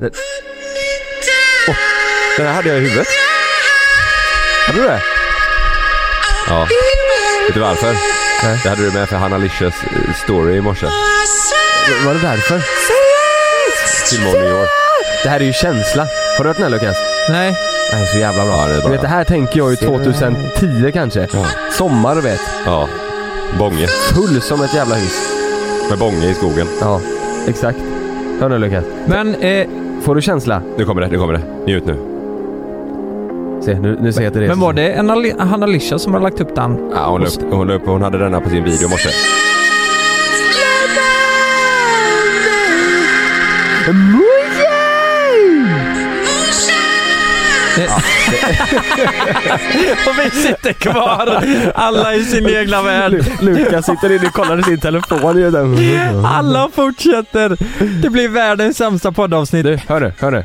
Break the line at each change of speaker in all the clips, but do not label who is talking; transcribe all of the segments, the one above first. Den, Åh, den här hade jag i huvudet. Hade du det?
Ja. Vet du varför?
Nej.
Det hade du med för Hanna Licious eh, story i morse.
Var det därför?
Till New York.
Det här är ju känsla. Har du hört den här Lukas?
Nej.
Nej, så jävla bra.
Ja, det är bra.
du vet, det här tänker jag ju 2010 kanske. Sommar, du vet.
Ja. Bånge.
Full som ett jävla hus.
Med Bånge i skogen.
Ja, exakt. Hör nu Lukas.
Men eh,
Får du känsla?
Nu kommer det, nu kommer det. Njut nu.
Se, nu, nu ser jag till det.
Men var det en Ali- Hanna Lisha som har lagt upp den?
Ja, hon, la upp, hon, la upp, hon hade denna på sin video i morse.
Och vi sitter kvar, alla i sin egna värld.
Lukas sitter inne och kollar i sin telefon. ju där.
Alla fortsätter. Det blir världens sämsta poddavsnitt.
Hör du, hör du.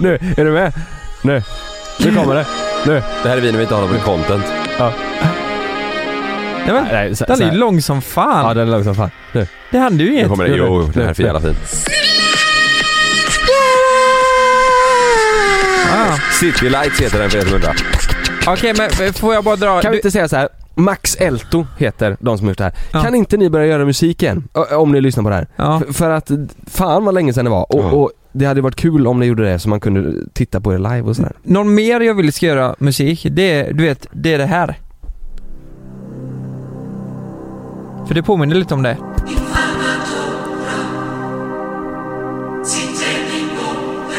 nu, är du med? Nu. Nu kommer det. Nu.
Det här är vi när vi inte har någon content.
Nej, men,
Nej, så,
den
så
är ju
här.
lång som fan.
Ja, den är lång som fan. Nu.
Det händer ju
Nu
inget.
kommer det. Jo, det här är för jävla fint.
Ah.
City Lights heter den för er som undrar.
Okej men eh, får jag bara dra...
Kan vi
Du,
inte säga så här? Max Elto heter de som har gjort det här.
Ja.
Kan inte ni börja göra musik igen? Ö- Om ni lyssnar på det här.
ja.
F- För att, fan vad länge sedan det var. Och,
Ja.
och det hade varit kul om ni gjorde det så man kunde titta på er live och sådär.
Någon mer jag vill ska göra musik, det är, du vet, det är det här. För det påminner lite om det.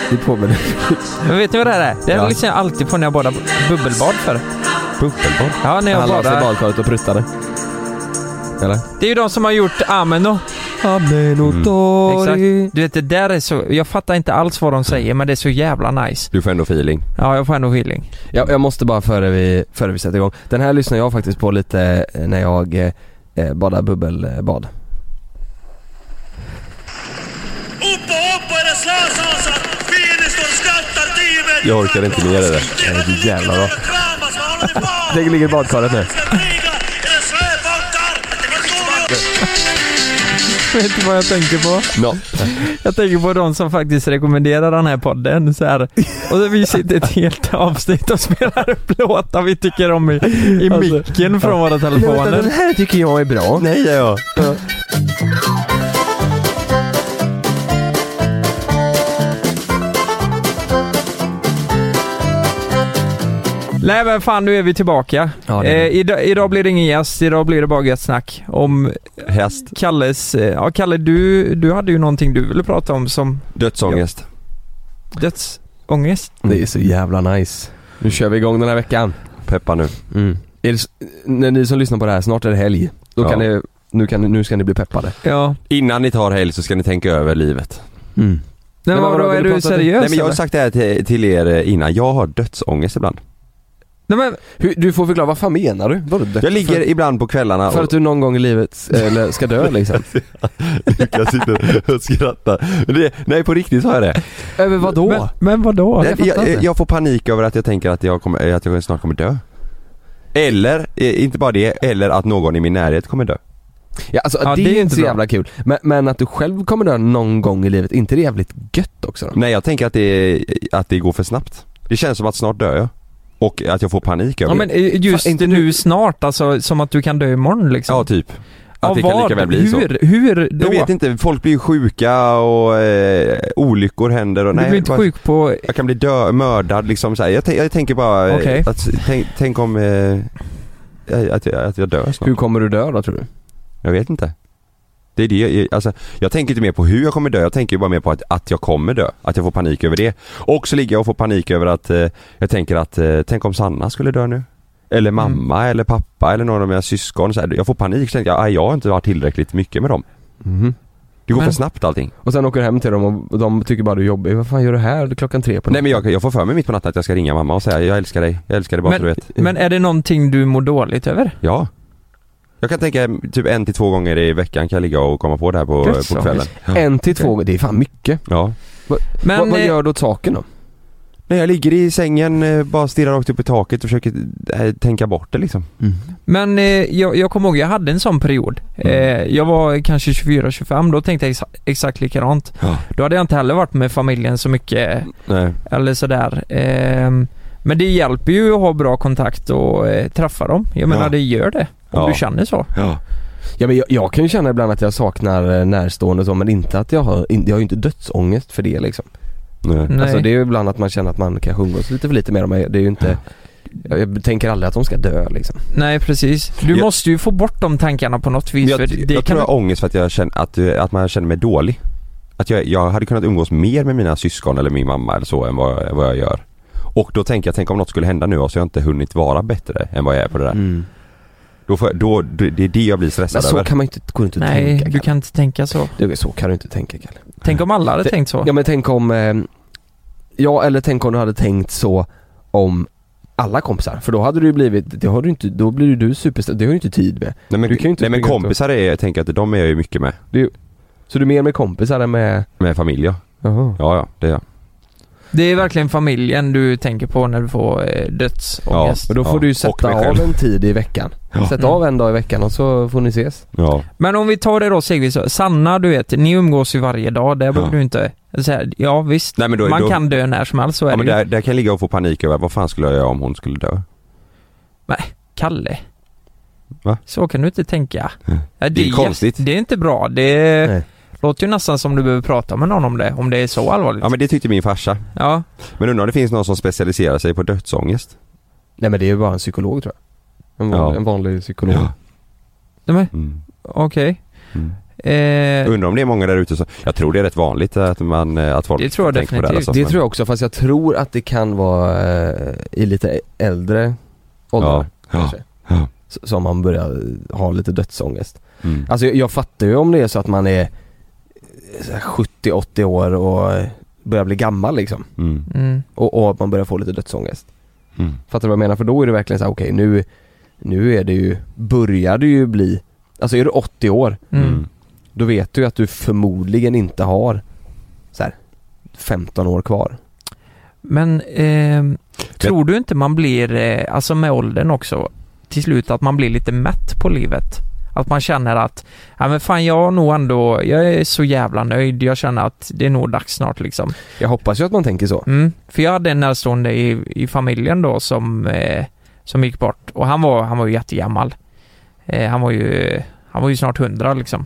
Det påminner.
Men vet ni vad det här är? Det här
Ja.
lyssnar jag alltid på när jag badar bubbelbad för.
Bubbelbad.
Ja, när jag
Han la sig i
badar.
badkaret och pruttade. Eller?
Det är ju de som har gjort Ameno.
Mm.
Exakt.
Exakt.
Du vet det där är så, jag fattar inte alls vad de säger men det är så jävla nice.
Du får ändå feeling.
Ja, jag får ändå feeling.
Jag, jag måste bara före vi, före vi sätter igång. Den här lyssnar jag faktiskt på lite eh, när jag eh, eh, badar bubbelbad.
Upp och upp och det slås alltså! Fiendestånd skrattar drivet!
Jag orkar inte med det där.
Nej, det är jävla bra. Tänk ligger i badkaret nu.
Vet du vad jag tänker på?
No.
Jag tänker på de som faktiskt rekommenderar den här podden så här. Och så vi sitter ett helt avsnitt och spelar upp låtar vi tycker om i, i
Alltså,
micken från våra telefoner.
Den här tycker jag är bra.
Nej, ja.
Nej men fan nu är vi tillbaka.
Ja, det är
eh,
det.
idag, idag blir det ingen gäst, idag blir det bara gött snack om
Häst.
Kalles, eh, ja Kalle du, du hade ju någonting du ville prata om som
Dödsångest.
dödsångest.
Det är så jävla nice. Mm. Nu kör vi igång den här veckan.
Peppa nu.
Är det, s- när ni som lyssnar på det här, snart är det helg. Då
Ja.
kan ni, nu, kan, ni- nu ska ni bli peppade.
Ja.
Innan ni tar helg så ska ni tänka över livet.
Nej, men
vad
vadå,
bra, vill
är
du
du
prata om-
seriös
Nej men jag har
eller?
sagt det här till, till er eh, innan, jag har dödsångest ibland.
Nej, men,
Hur, du får förklara, vad fan menar du? Vadå dött?
Jag ligger ibland på kvällarna
för, för att du någon gång i livet, eller ska dö liksom.
Lukas sitter och skrattar. Men det, nej på riktigt har jag det.
Över vad
men, men vadå?
Nej,
fattar
jag,
inte.
jag får panik över att jag tänker att jag, kommer, att jag snart kommer dö. Eller, eh, inte bara det, eller att någon i min närhet kommer dö.
Ja, alltså,
Ja,
det, är ju inte så
bra.
jävla kul. Men, men att du själv kommer dö någon gång i livet, inte det jävligt gött också då?
Nej jag tänker att det, att det går för snabbt. Det känns som att snart dör jag. Och att jag får panik över
Ja
det.
men eh, just
Fan, inte
nu snart alltså, som att du kan dö imorgon liksom.
Ja typ. Att
Av
det kan
vad?
lika väl bli så.
hur, Hur då?
Jag vet inte, folk blir ju sjuka och eh, olyckor händer och
Du blir inte
bara-
sjuk på...
Jag kan bli dö- mördad liksom så här. Jag, tän- jag tänker bara, eh,
Okej.
att, tänk, tänk om, eh, jag- att, jag, att jag dör snart.
Hur kommer du dö då tror du?
Jag vet inte. Det är det, jag- alltså, jag tänker inte mer på hur jag kommer dö, jag tänker ju bara mer på att, att jag kommer dö. Att jag får panik över det. Och så ligger jag och får panik över att, eh, jag tänker att, eh, tänk om Sanna skulle dö nu? Eller mamma eller pappa eller någon av mina syskon. Så här. Jag får panik, så tänker jag, "Aj, jag har inte varit tillräckligt mycket med dem. Det går
Men-
för snabbt allting.
Och sen åker du hem till dem och de tycker bara du är jobbig. Vad fan gör du här klockan tre på
Nej men jag, jag får för mig mitt på natten att jag ska ringa mamma och säga jag älskar dig, jag älskar dig bara så du
men,
vet.
men är det någonting du mår dåligt över?
Ja. Jag kan tänka typ en till två gånger i veckan kan jag ligga och komma på det här på,
Dödsångest.
Eh,
på kvällen. Ja.
En till två, det är fan mycket.
ja.
Men,
vad, vad
eh,
gör du åt saken då?
Nej jag ligger i sängen, eh, bara stirrar rakt upp i taket och försöker eh, tänka bort det liksom.
Men eh, jag, jag kommer ihåg, jag hade en sån period.
Mm.
Eh, jag var kanske 24-25, då tänkte jag exa- exakt likadant.
Ja.
Då hade jag inte heller varit med familjen så mycket,
Nej.
eller sådär. Ehm, men det hjälper ju att ha bra kontakt och eh, träffa dem. Jag menar
Ja.
det gör det. Om
Ja.
du känner så.
Ja.
Ja men jag, jag kan ju känna ibland att jag saknar eh, närstående och så men inte att jag har, in, jag har ju inte dödsångest för det liksom.
Nej.
Nej.
Alltså det är ju ibland att man känner att man kanske umgås lite för lite med dem, men det är ju inte jag, jag tänker aldrig att de ska dö liksom.
Nej precis. Du
Jag-
måste ju få bort de tankarna på något vis.
Men Jag,
för det kan...
jag tror jag har ångest för att jag känner, att, eh, att man känner mig dålig. Att jag, jag hade kunnat umgås mer med mina syskon eller min mamma eller så än vad, vad jag gör. Och då tänker jag, tänk om något skulle hända nu och så har jag inte hunnit vara bättre än vad jag är på det där. Då får jag, då, det det är det jag blir
Men
stressad
Mm. så
över.
kan man ju inte, går inte att
Nej,
tänka
du kan inte tänka så.
Kalle. Du, Så kan du inte tänka Kalle.
Tänk om alla hade
Det-
tänkt så.
Ja men tänk om, eh, ja eller tänk om du hade tänkt så om alla kompisar, för då hade du ju blivit, det har du inte, då blir ju du superstressad, det har du inte tid med.
Nej men,
Du kan ju inte
nej, men
springa ut och-
kompisar är, jag tänker att de är jag ju mycket med.
Så du är mer med kompisar än med,
Med familj ja.
jaha.
Ja, ja det är jag.
Det är verkligen familjen du tänker på när du får eh, dödsångest.
Och då får
Ja,
du ju
och
sätta
mig
av
själv.
en tid i veckan.
Ja.
Sätt av en dag i veckan och så får ni ses.
Ja.
Men om vi tar det då stegvis. Sanna, du vet, ni umgås ju varje dag. Där behöver du inte... Så här, ja visst,
Nej men då,
man
då,
kan dö när som helst. Så är
ja,
det
men
ju.
där, där kan jag ligga och få panik över vad fan skulle jag göra om hon skulle dö?
Kalle.
Va?
Så kan du inte tänka.
Mm.
Ja,
Det är konstigt.
Det är inte bra. Det
Nej.
låter ju nästan som du behöver prata med någon om det. Om det är så allvarligt.
Ja men det tyckte min farsa.
ja.
Men undrar om det finns någon som specialiserar sig på dödsångest?
Nej men det är ju bara en psykolog tror jag. En, van,
Ja.
en vanlig psykolog.
Nej, men
Mm.
okej.
Mm.
Eh,
Undrar om det är många där ute som, jag tror det är rätt vanligt att man, eh, att folk
Det tror jag
tänker på det,
definitivt.
alltså,
Det tror jag också fast jag tror att det kan vara eh, i lite äldre åldrar
Ja.
kanske.
Ja.
S- Som man börjar eh, ha lite dödsångest.
Ja. Mm.
Alltså jag, jag fattar ju om det är så att man är eh, så här 70-80 år och eh, börjar bli gammal liksom.
Mm.
mm.
Och, och att man börjar få lite dödsångest.
Mm.
Fattar du vad jag menar? För då är det verkligen så här, okej nu, nu är det ju, börjar det ju bli, alltså är du 80 år,
Mm.
Mm.
då vet du ju att du förmodligen inte har så här, 15 år kvar.
Men ehm, tror du inte man blir, eh, alltså med åldern också, till slut att man blir lite mätt på livet? Att man känner att, ja men fan jag har nog ändå, jag är så jävla nöjd, jag känner att det är nog dags snart liksom.
Jag hoppas ju att man tänker så.
Mm. För jag hade en närstående i, i familjen då som, eh, som gick bort och han var, han var ju jättegammal. Eh, han var ju, han var ju snart 100 liksom.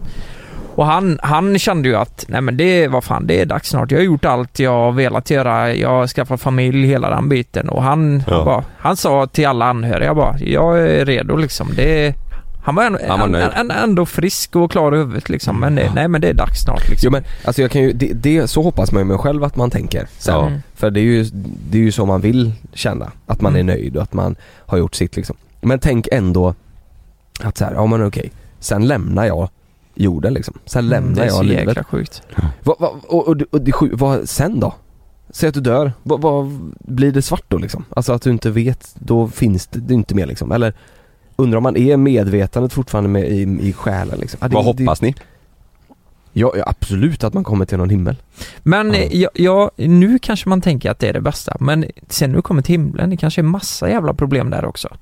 Och han, han kände ju att, nej men det, vad fan, det är dags snart. Jag har gjort allt jag har velat göra. Jag har skaffat familj, hela den biten. Och han,
Ja.
han, bara, han sa till alla anhöriga bara, jag är redo liksom. Det, han var, ändå,
Han var nöjd.
ändå, ändå frisk och klar i huvudet liksom. Men det, nej men det är dags snart liksom.
Jo men alltså jag kan ju, det, det, så hoppas man ju med själv att man tänker sen.
Ja.
För det är, ju, det är ju så man vill känna, att man
Mm.
är nöjd och att man har gjort sitt liksom. Men tänk ändå att så här, ja men okej, sen lämnar jag jorden liksom. Sen lämnar
Mm, det är så
jag livet.
jäkla sjukt.
Vad, vad, och, och, och det sju, vad, sen då? Säg att du dör, vad, vad blir det svart då liksom? Alltså att du inte vet, då finns det, det är inte mer liksom. Eller undrar om man är medvetandet fortfarande med, i, i själen liksom. Ja, det-
Vad
det-
hoppas ni?
Ja, ja, absolut att man kommer till någon himmel.
Men
Ja.
eh, ja. Ja, nu kanske man tänker att det är det bästa, men sen när du kommer till himlen, det kanske är massa jävla problem där också.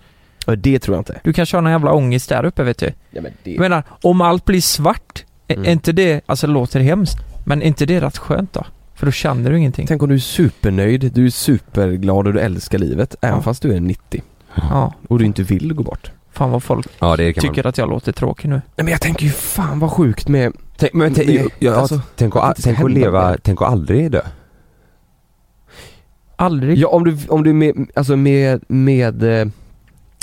Ja, det tror jag inte.
Du kanske har någon jävla ångest där uppe vet du.
Ja, men
Jag menar, om allt blir svart, är-
Mm.
är inte det, alltså det låter hemskt, men är inte det rätt skönt då? För då känner du ingenting.
Tänk om du är supernöjd, du är superglad och du älskar livet, även
Ja.
fast du är 90
Ja,
och du inte vill gå bort.
fan vad folk
Ja det kan
tycker att jag låter tråkig nu.
Nej men jag tänker ju fan vad sjukt med... Tänk,
man. Men tänk, jag, jag,
Alltså,
tänk,
att det
att,
inte ska
tänk att
hända
leva,
mer.
tänk att aldrig dö.
Aldrig.
Ja om du, om du med, alltså med, med, eh,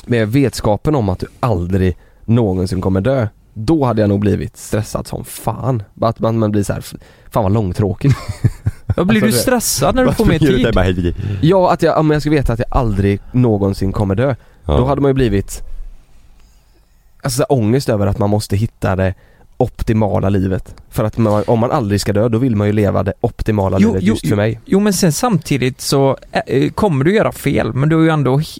med vetskapen om att du aldrig någonsin kommer dö Då hade jag nog blivit stressad som fan. Bara Att man, man blir så här, "F- fan vad långtråkigt
Ja, blir
alltså
du
det-
stressad när du får mer tid?
Ja att jag, om jag ska veta att jag aldrig någonsin kommer dö Då hade man ju blivit Alltså så här, ångest över att man måste hitta det optimala livet För att man, om man aldrig ska dö då vill man ju leva det optimala
Jo,
livet
jo,
just för mig
Jo men sen samtidigt så eh, eh, kommer du göra fel, men du har ju ändå he-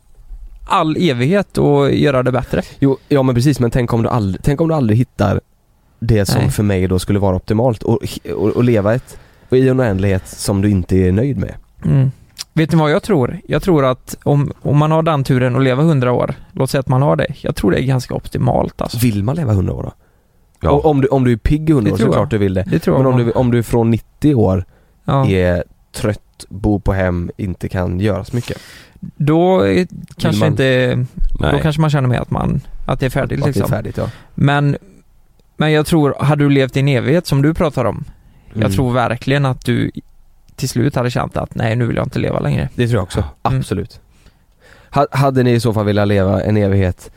all evighet att göra det bättre.
Jo, ja men precis men tänk om du aldrig, tänk om du aldrig hittar det som
Nej.
för mig då skulle vara optimalt och, och, och leva ett och i en oändlighet som du inte är nöjd med.
Mm. Vet ni vad jag tror? Jag tror att om, om man har den turen att leva 100 år, låt säga att man har det. Jag tror det är ganska optimalt alltså.
Vill man leva 100 år då?
Ja.
Och om, du, om du är pigg i 100
Det
år så är
tror
det
jag.
klart du vill det.
Det tror jag.
Men om du, om du är från 90 år
ja.
är trött, bor på hem, inte kan göra så mycket.
Då eh, kanske
man-
inte, då
Nej.
kanske man känner med att man, att det är färdigt
Att det är
liksom.
färdigt ja.
Men, men jag tror, hade du levt i en evighet som du pratar om, jag
Mm.
tror verkligen att du till slut hade känt att nej, nu vill jag inte leva längre.
Det tror jag också,
Mm.
absolut. Ha- Hade ni i så fall velat leva en evighet?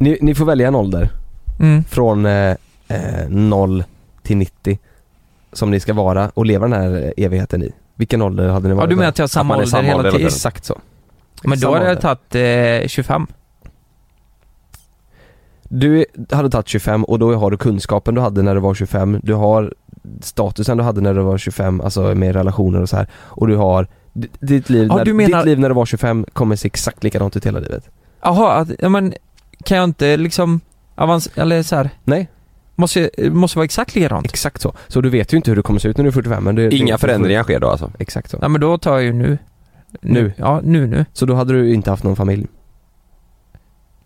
Ni, ni får välja en ålder
Mm.
från eh, eh, 0 till 90 som ni ska vara och leva den här eh, evigheten i. Vilken ålder hade ni varit
Ja, du menar
där?
att jag har samma
man är
ålder
samma
hela
ålder hela
tiden?
tiden.
Exakt så.
Men då
Samma
hade jag
ålder.
tagit eh, 25.
Du hade tagit 25 och då har du kunskapen du hade när du var 25, du har statusen du hade när du var 25, alltså med relationer och så här. Och du har, d- ditt liv,
Ja,
när,
du menar-
ditt liv när du var 25 kommer se exakt likadant ut hela livet.
Jaha, att- ja, men kan jag inte liksom avancera, eller så här,
Nej,
måste, måste vara exakt likadant?
exakt så. Så du vet ju inte hur du kommer se ut när du är 45 men du,
Inga
du,
förändringar sker då alltså?
Exakt så.
Ja men då tar jag ju nu.
Nu?
Ja, nu nu.
Så då hade du inte haft någon familj,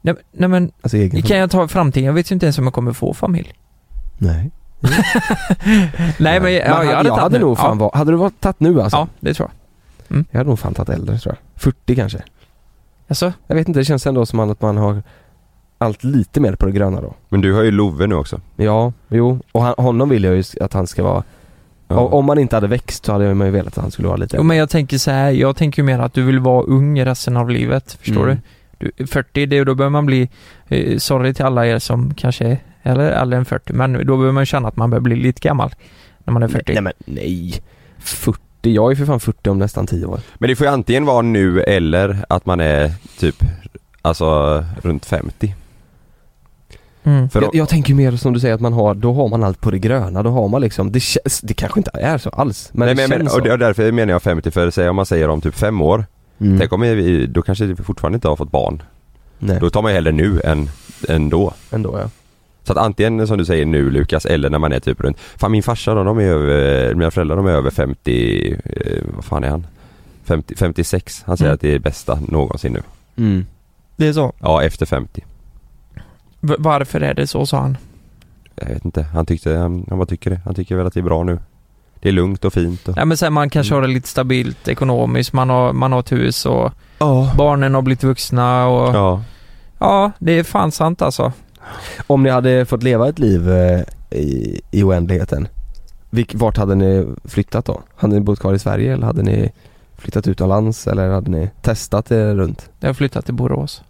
Nej, nej men,
alltså egen
kan
familj.
jag ta framtiden? Jag vet ju inte ens om jag kommer få familj.
Nej.
Nej men, ja,
hade,
jag hade,
jag
tagit
hade
nu.
nog fan
ja.
var, hade du varit tagit nu alltså?
ja, det tror jag.
Jag hade nog fan tagit äldre tror jag. 40 kanske.
Alltså,
Jag vet inte, det känns ändå som att man har allt lite mer på det gröna då.
Men du har ju Love nu också.
Ja, jo. Och han, honom vill jag ju att han ska vara...
Ja.
o- Om man inte hade växt så hade man ju velat att han skulle vara lite
jo, men jag tänker så här, jag tänker ju mer att du vill vara ung resten av livet, förstår
Mm.
du? du? 40, det, då börjar man bli, eh, sorry till alla er som kanske är eller äldre än 40, men då börjar man känna att man börjar bli lite gammal när man är 40.
Nej men nej. 40, jag är ju för fan 40 om nästan 10 år.
Men det får ju antingen vara nu eller att man är typ, alltså runt 50.
Mm.
För
jag, jag tänker ju mer som du säger att man har, då har man allt på det gröna, då har man liksom, det känns, det kanske inte är så alls. Men
nej,
det
men, men,
känns
och
så.
det- och därför menar jag 50, för säg om man säger om typ fem år,
Mm.
tänk om vi, då kanske vi fortfarande inte har fått barn.
Nej,
Då tar man ju hellre nu än, än då.
ändå ja.
Så att antingen som du säger nu Lukas, eller när man är typ runt, fan min farsa då, de är över, mina föräldrar de är över 50, eh, vad fan är han? 50, 56, han säger
Mm.
att det är bästa någonsin nu.
Mm.
Det är så.
Ja, efter 50.
V- varför är det så, sa han.
Jag vet inte, han tyckte, han, han vad tycker det? Han tycker väl att det är bra nu. Det är lugnt och fint och...
Nej men sen man kanske har det lite stabilt ekonomiskt, man har, man har ett hus och barnen har blivit vuxna och... Ja,
Ja.
det är fan sant alltså.
Om ni hade fått leva ett liv eh, i, i oändligheten, vilk, vart hade ni flyttat då? Hade ni bott kvar i Sverige eller hade ni flyttat utomlands eller hade ni testat er runt?
Jag har flyttat till Borås.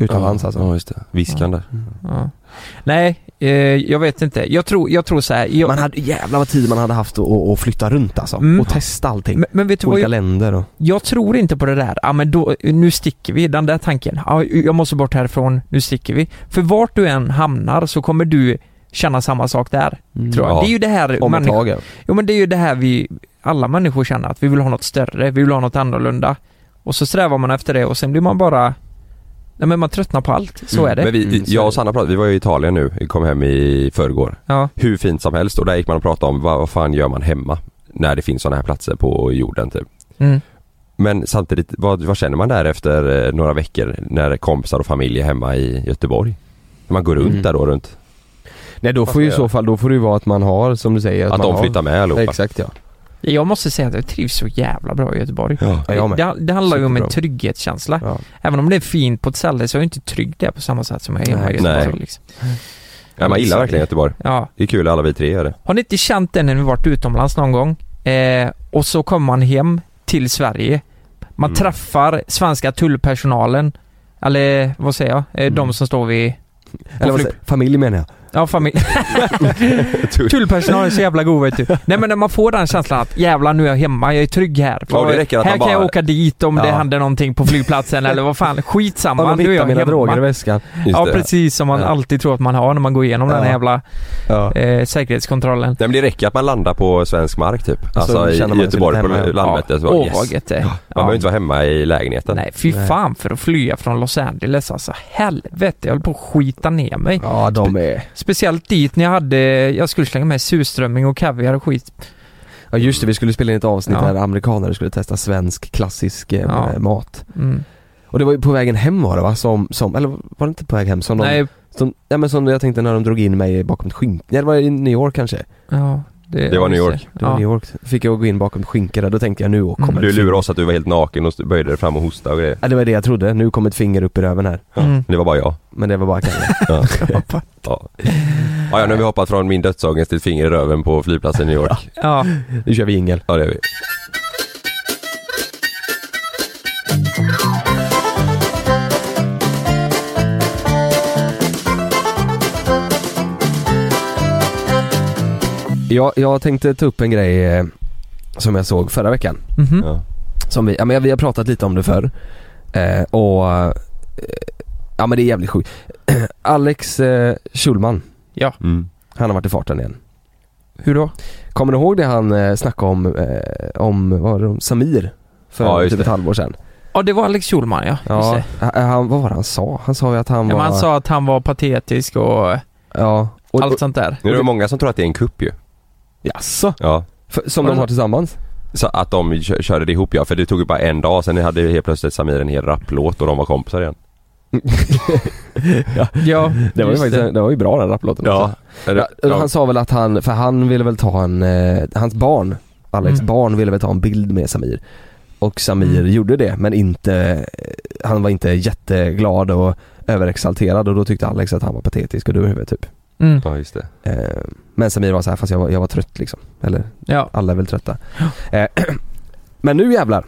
Utomlands
ja,
alltså? Mm.
Ja, just det. Viskan där.
Ja. Nej, eh, jag vet inte. Jag tror, jag tror så här. Jag,
Man hade, jävlar vad tid man hade haft att, att, att flytta runt alltså
Mm.
och testa allting.
men, men vet du vad,
Olika
jag,
länder och...
jag tror inte på det där. Ja men då, nu sticker vi. Den där tanken. Ja, jag måste bort härifrån, nu sticker vi. För vart du än hamnar så kommer du känna samma sak där, tror jag.
Ja.
Det är ju det här
Om ett
människa-
tag ja.
Jo men det är ju det här vi, alla människor känner att vi vill ha något större, vi vill ha något annorlunda. Och så strävar man efter det och sen blir man bara, nej men man tröttnar på allt, så är det.
Men vi,
Mm, så är
jag
det.
och Sanna pratade, vi var ju i Italien nu, vi kom hem i förrgår.
Ja,
Hur fint som helst och där gick man och pratade om vad, vad fan gör man hemma? När det finns sådana här platser på jorden typ.
mm.
Men samtidigt, vad, vad känner man där efter eh, några veckor när kompisar och familj är hemma i Göteborg? När man går runt
Mm.
där då runt.
Nej då
Vad
får ju i
ska
Alltså,
så
jag
fall, då får det ju vara att man har som du säger
Att,
man
de
har...
flyttar med allihopa.
Exakt ja.
Jag måste säga att jag trivs så jävla bra i Göteborg.
Ja.
ja jag med.
Det, det handlar ju om en
Superbra.
trygghetskänsla.
Ja.
Även om det är fint på ett ställe så är jag inte trygg där på samma sätt som jag är hemma i
Nej.
Göteborg.
Nej.
Liksom.
Ja, man gillar verkligen Göteborg.
Ja.
Det är kul alla vi tre gör det.
Har ni inte känt det när ni varit utomlands någon gång? Eh, och så kommer man hem till Sverige. Man
Mm.
träffar svenska tullpersonalen. Eller vad säger jag? Eh, De
Mm.
som står vid...
Eller vad
flyg-
säger- familj menar jag.
Ja, familj. Tullpersonalen är så jävla god vet du. Nej men när man får den känslan att jävlar nu är jag hemma, jag är trygg här.
Ja, det räcker att
här
man
kan jag
bara-
åka dit om det
Ja.
händer någonting på flygplatsen eller vad fan. Skitsamma,
Ja, de
nu är jag
hittar mina
hemma.
droger i väskan.
Just
ja
det.
precis, som man
Ja.
alltid tror att man har när man går igenom den
Ja.
här jävla
Ja.
eh, säkerhetskontrollen.
Nej men det räcker att man landar på svensk mark typ. Alltså,
känner man
i
sig
Göteborg på
lite hemma.
Landvetter. så bara,
Åh
yes.
vad gött det är.
Man behöver inte vara hemma i lägenheten.
Nej, fy
Nej.
fan för att flyga från Los Angeles alltså. Helvete, jag höll på att skita ner mig.
ja de är...
Speciellt dit när jag hade, jag skulle slänga med surströmming och kaviar och skit.
Ja just det, vi skulle spela in ett avsnitt
Ja.
där amerikanare skulle testa svensk klassisk eh,
Ja.
mat.
Mm.
Och det var ju på vägen hem var det va? Som, som eller var det inte på väg hem? Som de,
Nej,
Som, ja men som jag tänkte när de drog in mig bakom ett skynke. Nej det var i New York kanske.
ja.
Det var New
just
York.
Det var
Ja.
New York. Fick jag gå in bakom ett skynke där, då tänkte jag nu och kommer
Mm.
Du
ett finger.
lurade oss att du var helt naken och böjde dig fram och hostade och grejer.
Ja det var det jag trodde, nu kom ett finger upp i röven här.
Mm.
Men det var bara jag.
Men det var bara Kalle.
Ja. ja. ja, ja, nu har vi hoppat från min dödsångest till ett finger i röven på flygplatsen i New York.
Ja.
Nu kör vi jingel.
Ja, det är vi.
Jag, jag tänkte ta upp en grej eh, som jag såg förra veckan.
Mhm.
Ja.
Som vi, ja, men vi har pratat lite om det förr. Eh, och... Eh, ja men det är jävligt sjukt. Alex eh, Schulman,
Mm.
han har varit i farten igen.
Hur då?
Kommer ni ihåg det han eh, snackade om, eh, om, vad var det, om Samir? För
Ja, just
typ ett
det.
halvår sedan.
Ja, det var Alex Schulman ja. Just
Ja,
det.
han- han, vad var det han sa? Han sa ju att han
ja
var...
men han sa att han var patetisk och,
Ja. Och,
allt sånt där.
Nu är det många som tror att det är en kupp ju.
och, jaså?
Ja.
För, som
Var
de
det-
har tillsammans?
Så att de kö- körde det ihop ja, för det tog ju bara en dag, sen hade helt plötsligt Samir en hel rapplåt och de var kompisar igen.
Ja,
Det var ju
just
faktiskt, det. var ju bra den rapplåten också.
Eller,
Ja, Han sa väl att han, för han ville väl ta en, eh, hans barn, Alex
Mm.
barn ville väl ta en bild med Samir. Och Samir
Mm.
gjorde det men inte, han var inte jätteglad och överexalterad och då tyckte Alex att han var patetisk och dum i huvudet typ.
Mm.
ja just det.
Eh, Men Samir var så här, fast jag var, jag var trött liksom. Eller
Ja.
alla är väl trötta. Eh, Men nu jävlar.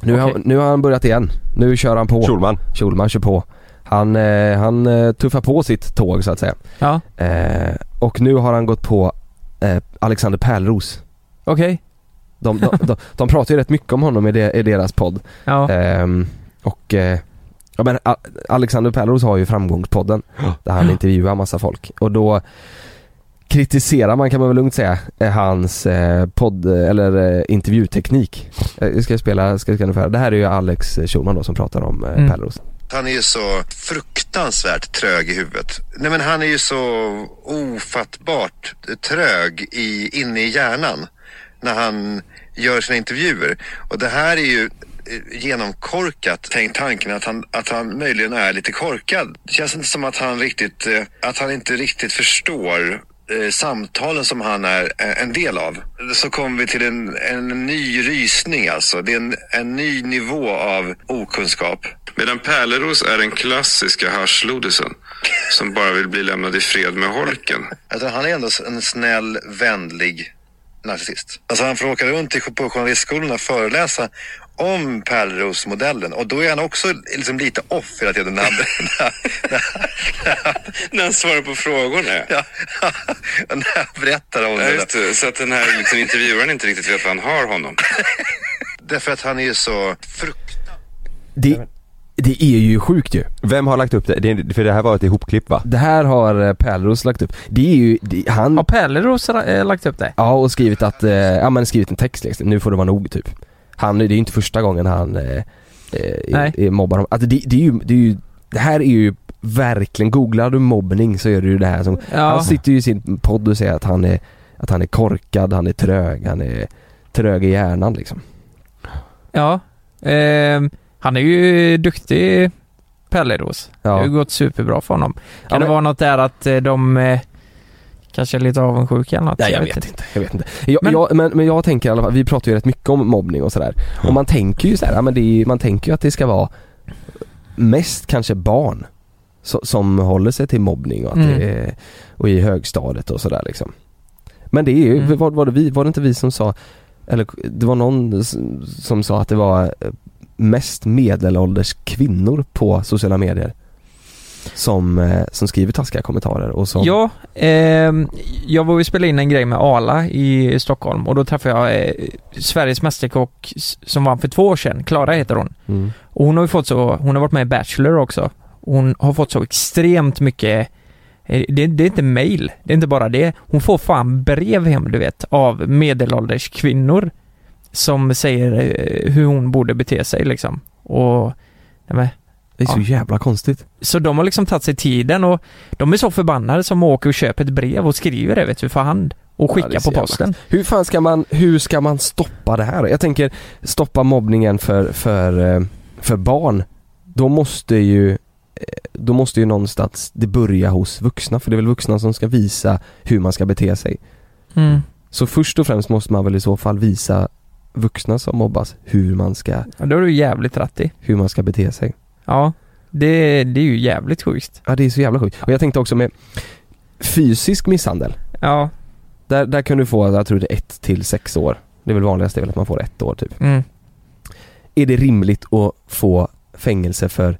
Nu, har,
Okej.
nu har han börjat igen. Nu kör han på.
Schulman.
Schulman kör på. Han, eh, han eh, tuffar på sitt tåg så att säga.
Ja,
Eh, och nu har han gått på eh, Alexander Pärlros.
okej.
De, de, de, de pratar ju rätt mycket om honom i, de, i deras podd.
Ja.
Ehm, och eh, ja, men A- Alexander Pärlros har ju Framgångspodden
Ja.
där han intervjuar massa folk och då kritiserar man kan man väl lugnt säga eh, hans eh, podd eller eh, intervjuteknik. Eh, ska jag spela, ska jag ska jag ungefär. Det här är ju Alex Schulman då som pratar om eh,
Mm.
Pärlros.
Han är ju så fruktansvärt trög i huvudet. Nej men han är ju så ofattbart trög i, inne i hjärnan när han gör sina intervjuer. Och det här är ju eh, genomkorkat. Tänk tanken att han, att han möjligen är lite korkad. Det känns inte som att han riktigt, eh, att han inte riktigt förstår eh, samtalen som han är eh, en del av. Så kommer vi till en, en ny rysning alltså. Det är en, en ny nivå av okunskap.
Medan Pärleros är den klassiska haschlodisen som bara vill bli lämnad i fred med holken.
Alltså, han är ändå en snäll, vänlig narcissist. Alltså, han får åka runt i- på journalistskolorna och föreläsa om Pärleros-modellen och då är han också liksom lite off hela tiden. När han,
När han svarar på frågorna.
ja, när han berättar om
Ja,
det.
just det. Så att den här liksom, intervjuaren inte riktigt vet vad han har honom.
Därför att han är ju så frukt...
Det, det är ju sjukt ju.
Vem har lagt upp det? det? är- För det här var ett ihopklipp va?
Det här har eh, Pärlros lagt upp. Det är ju, det, han,
Har Pärleros eh, lagt upp det?
ja och skrivit att, eh, ja men skrivit en text liksom, nu får det vara nog typ. Han, det är ju inte första gången han eh, eh,
Nej.
är, är mobbar dem. Alltså det, det, är ju, det är ju, det här är ju verkligen, googlar du mobbning så är det ju det här som,
Ja.
han sitter ju i sin podd och säger att han är, att han är korkad, han är trög, han är trög i hjärnan liksom.
Ja. Ehm, han är ju duktig, Pelleros. Det har
Ja.
ju gått superbra för honom. Kan
Ja, men-
det vara något där att eh, de eh, kanske är lite avundsjuka eller något?
Nej jag vet inte, jag vet inte. Jag, men,
Men-
jag, men, men jag tänker i alla fall, vi pratar ju rätt mycket om mobbning och sådär. Och man tänker ju såhär, ja, men det är, ju- man tänker ju att det ska vara mest kanske barn som, som håller sig till mobbning och, att
Mm.
det är, och i högstadiet och sådär liksom. Men det är ju,
Mm.
var, var, det vi, var det inte vi som sa, eller det var någon s- som sa att det var eh, mest medelålders kvinnor på sociala medier som, eh, som skriver taskiga kommentarer och som...
Ja, ehm, jag var ju spela in en grej med Arla i Stockholm och då träffade jag eh, Sveriges mästerkock s- som vann för två år sedan. Klara heter hon.
Mm.
Och hon har ju fått så, hon har varit med i Bachelor också. Hon har fått så extremt mycket, eh, det, det är inte mail, det är inte bara det. Hon får fan brev hem du vet, av medelålders kvinnor. Som säger eh, hur hon borde bete sig liksom. Och, nej men,
Det är så
Ja.
jävla konstigt.
så de har liksom tagit sig tiden och de är så förbannade som åker och köper ett brev och skriver det vet du för hand. och skicka
det är så
på
jävla-
posten.
Hur fan ska man, hur ska man stoppa det här? Jag tänker stoppa mobbningen för, för, eh, för barn. Då måste ju eh, då måste ju någonstans det börja hos vuxna för det är väl vuxna som ska visa hur man ska bete sig.
Mm.
Så först och främst måste man väl i så fall visa vuxna som mobbas hur man ska,
Ja, då är du jävligt rätt i.
hur man ska bete sig.
Ja, det, det är ju jävligt sjukt.
Ja det är så jävla sjukt. Och jag tänkte också med fysisk misshandel.
Ja,
Där, där kan du få, jag tror det är ett till sex år. Det är väl vanligast det är väl att man får ett år typ.
mm.
Är det rimligt att få fängelse för,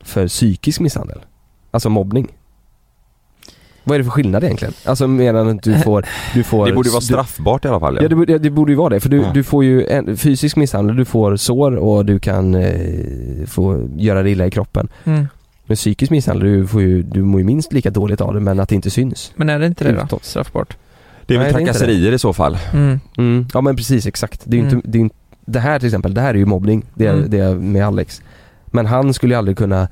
för psykisk misshandel? Alltså mobbning? Vad är det för skillnad egentligen? Alltså mer än att du får, du får
Det borde ju vara Mm.
du-
straffbart i alla fall.
Ja det, borde- det borde ju vara det, för du,
Ja.
du får ju en, fysisk misshandel, du får sår och du kan eh, få göra dig illa i kroppen.
Mm.
Men psykisk misshandel, du, får ju, du mår ju minst lika dåligt av det men att det inte syns.
Men är det inte det då?
Utåt.
Straffbart?
Det är väl
Nej, det är inte
trakasserier i så fall.
Mm.
Mm. Ja men precis, exakt. Det, är ju
Mm.
inte, det, är, inte- det här till exempel, det här är ju mobbning. Det är,
Mm.
det är med Alex. Men han skulle ju aldrig kunna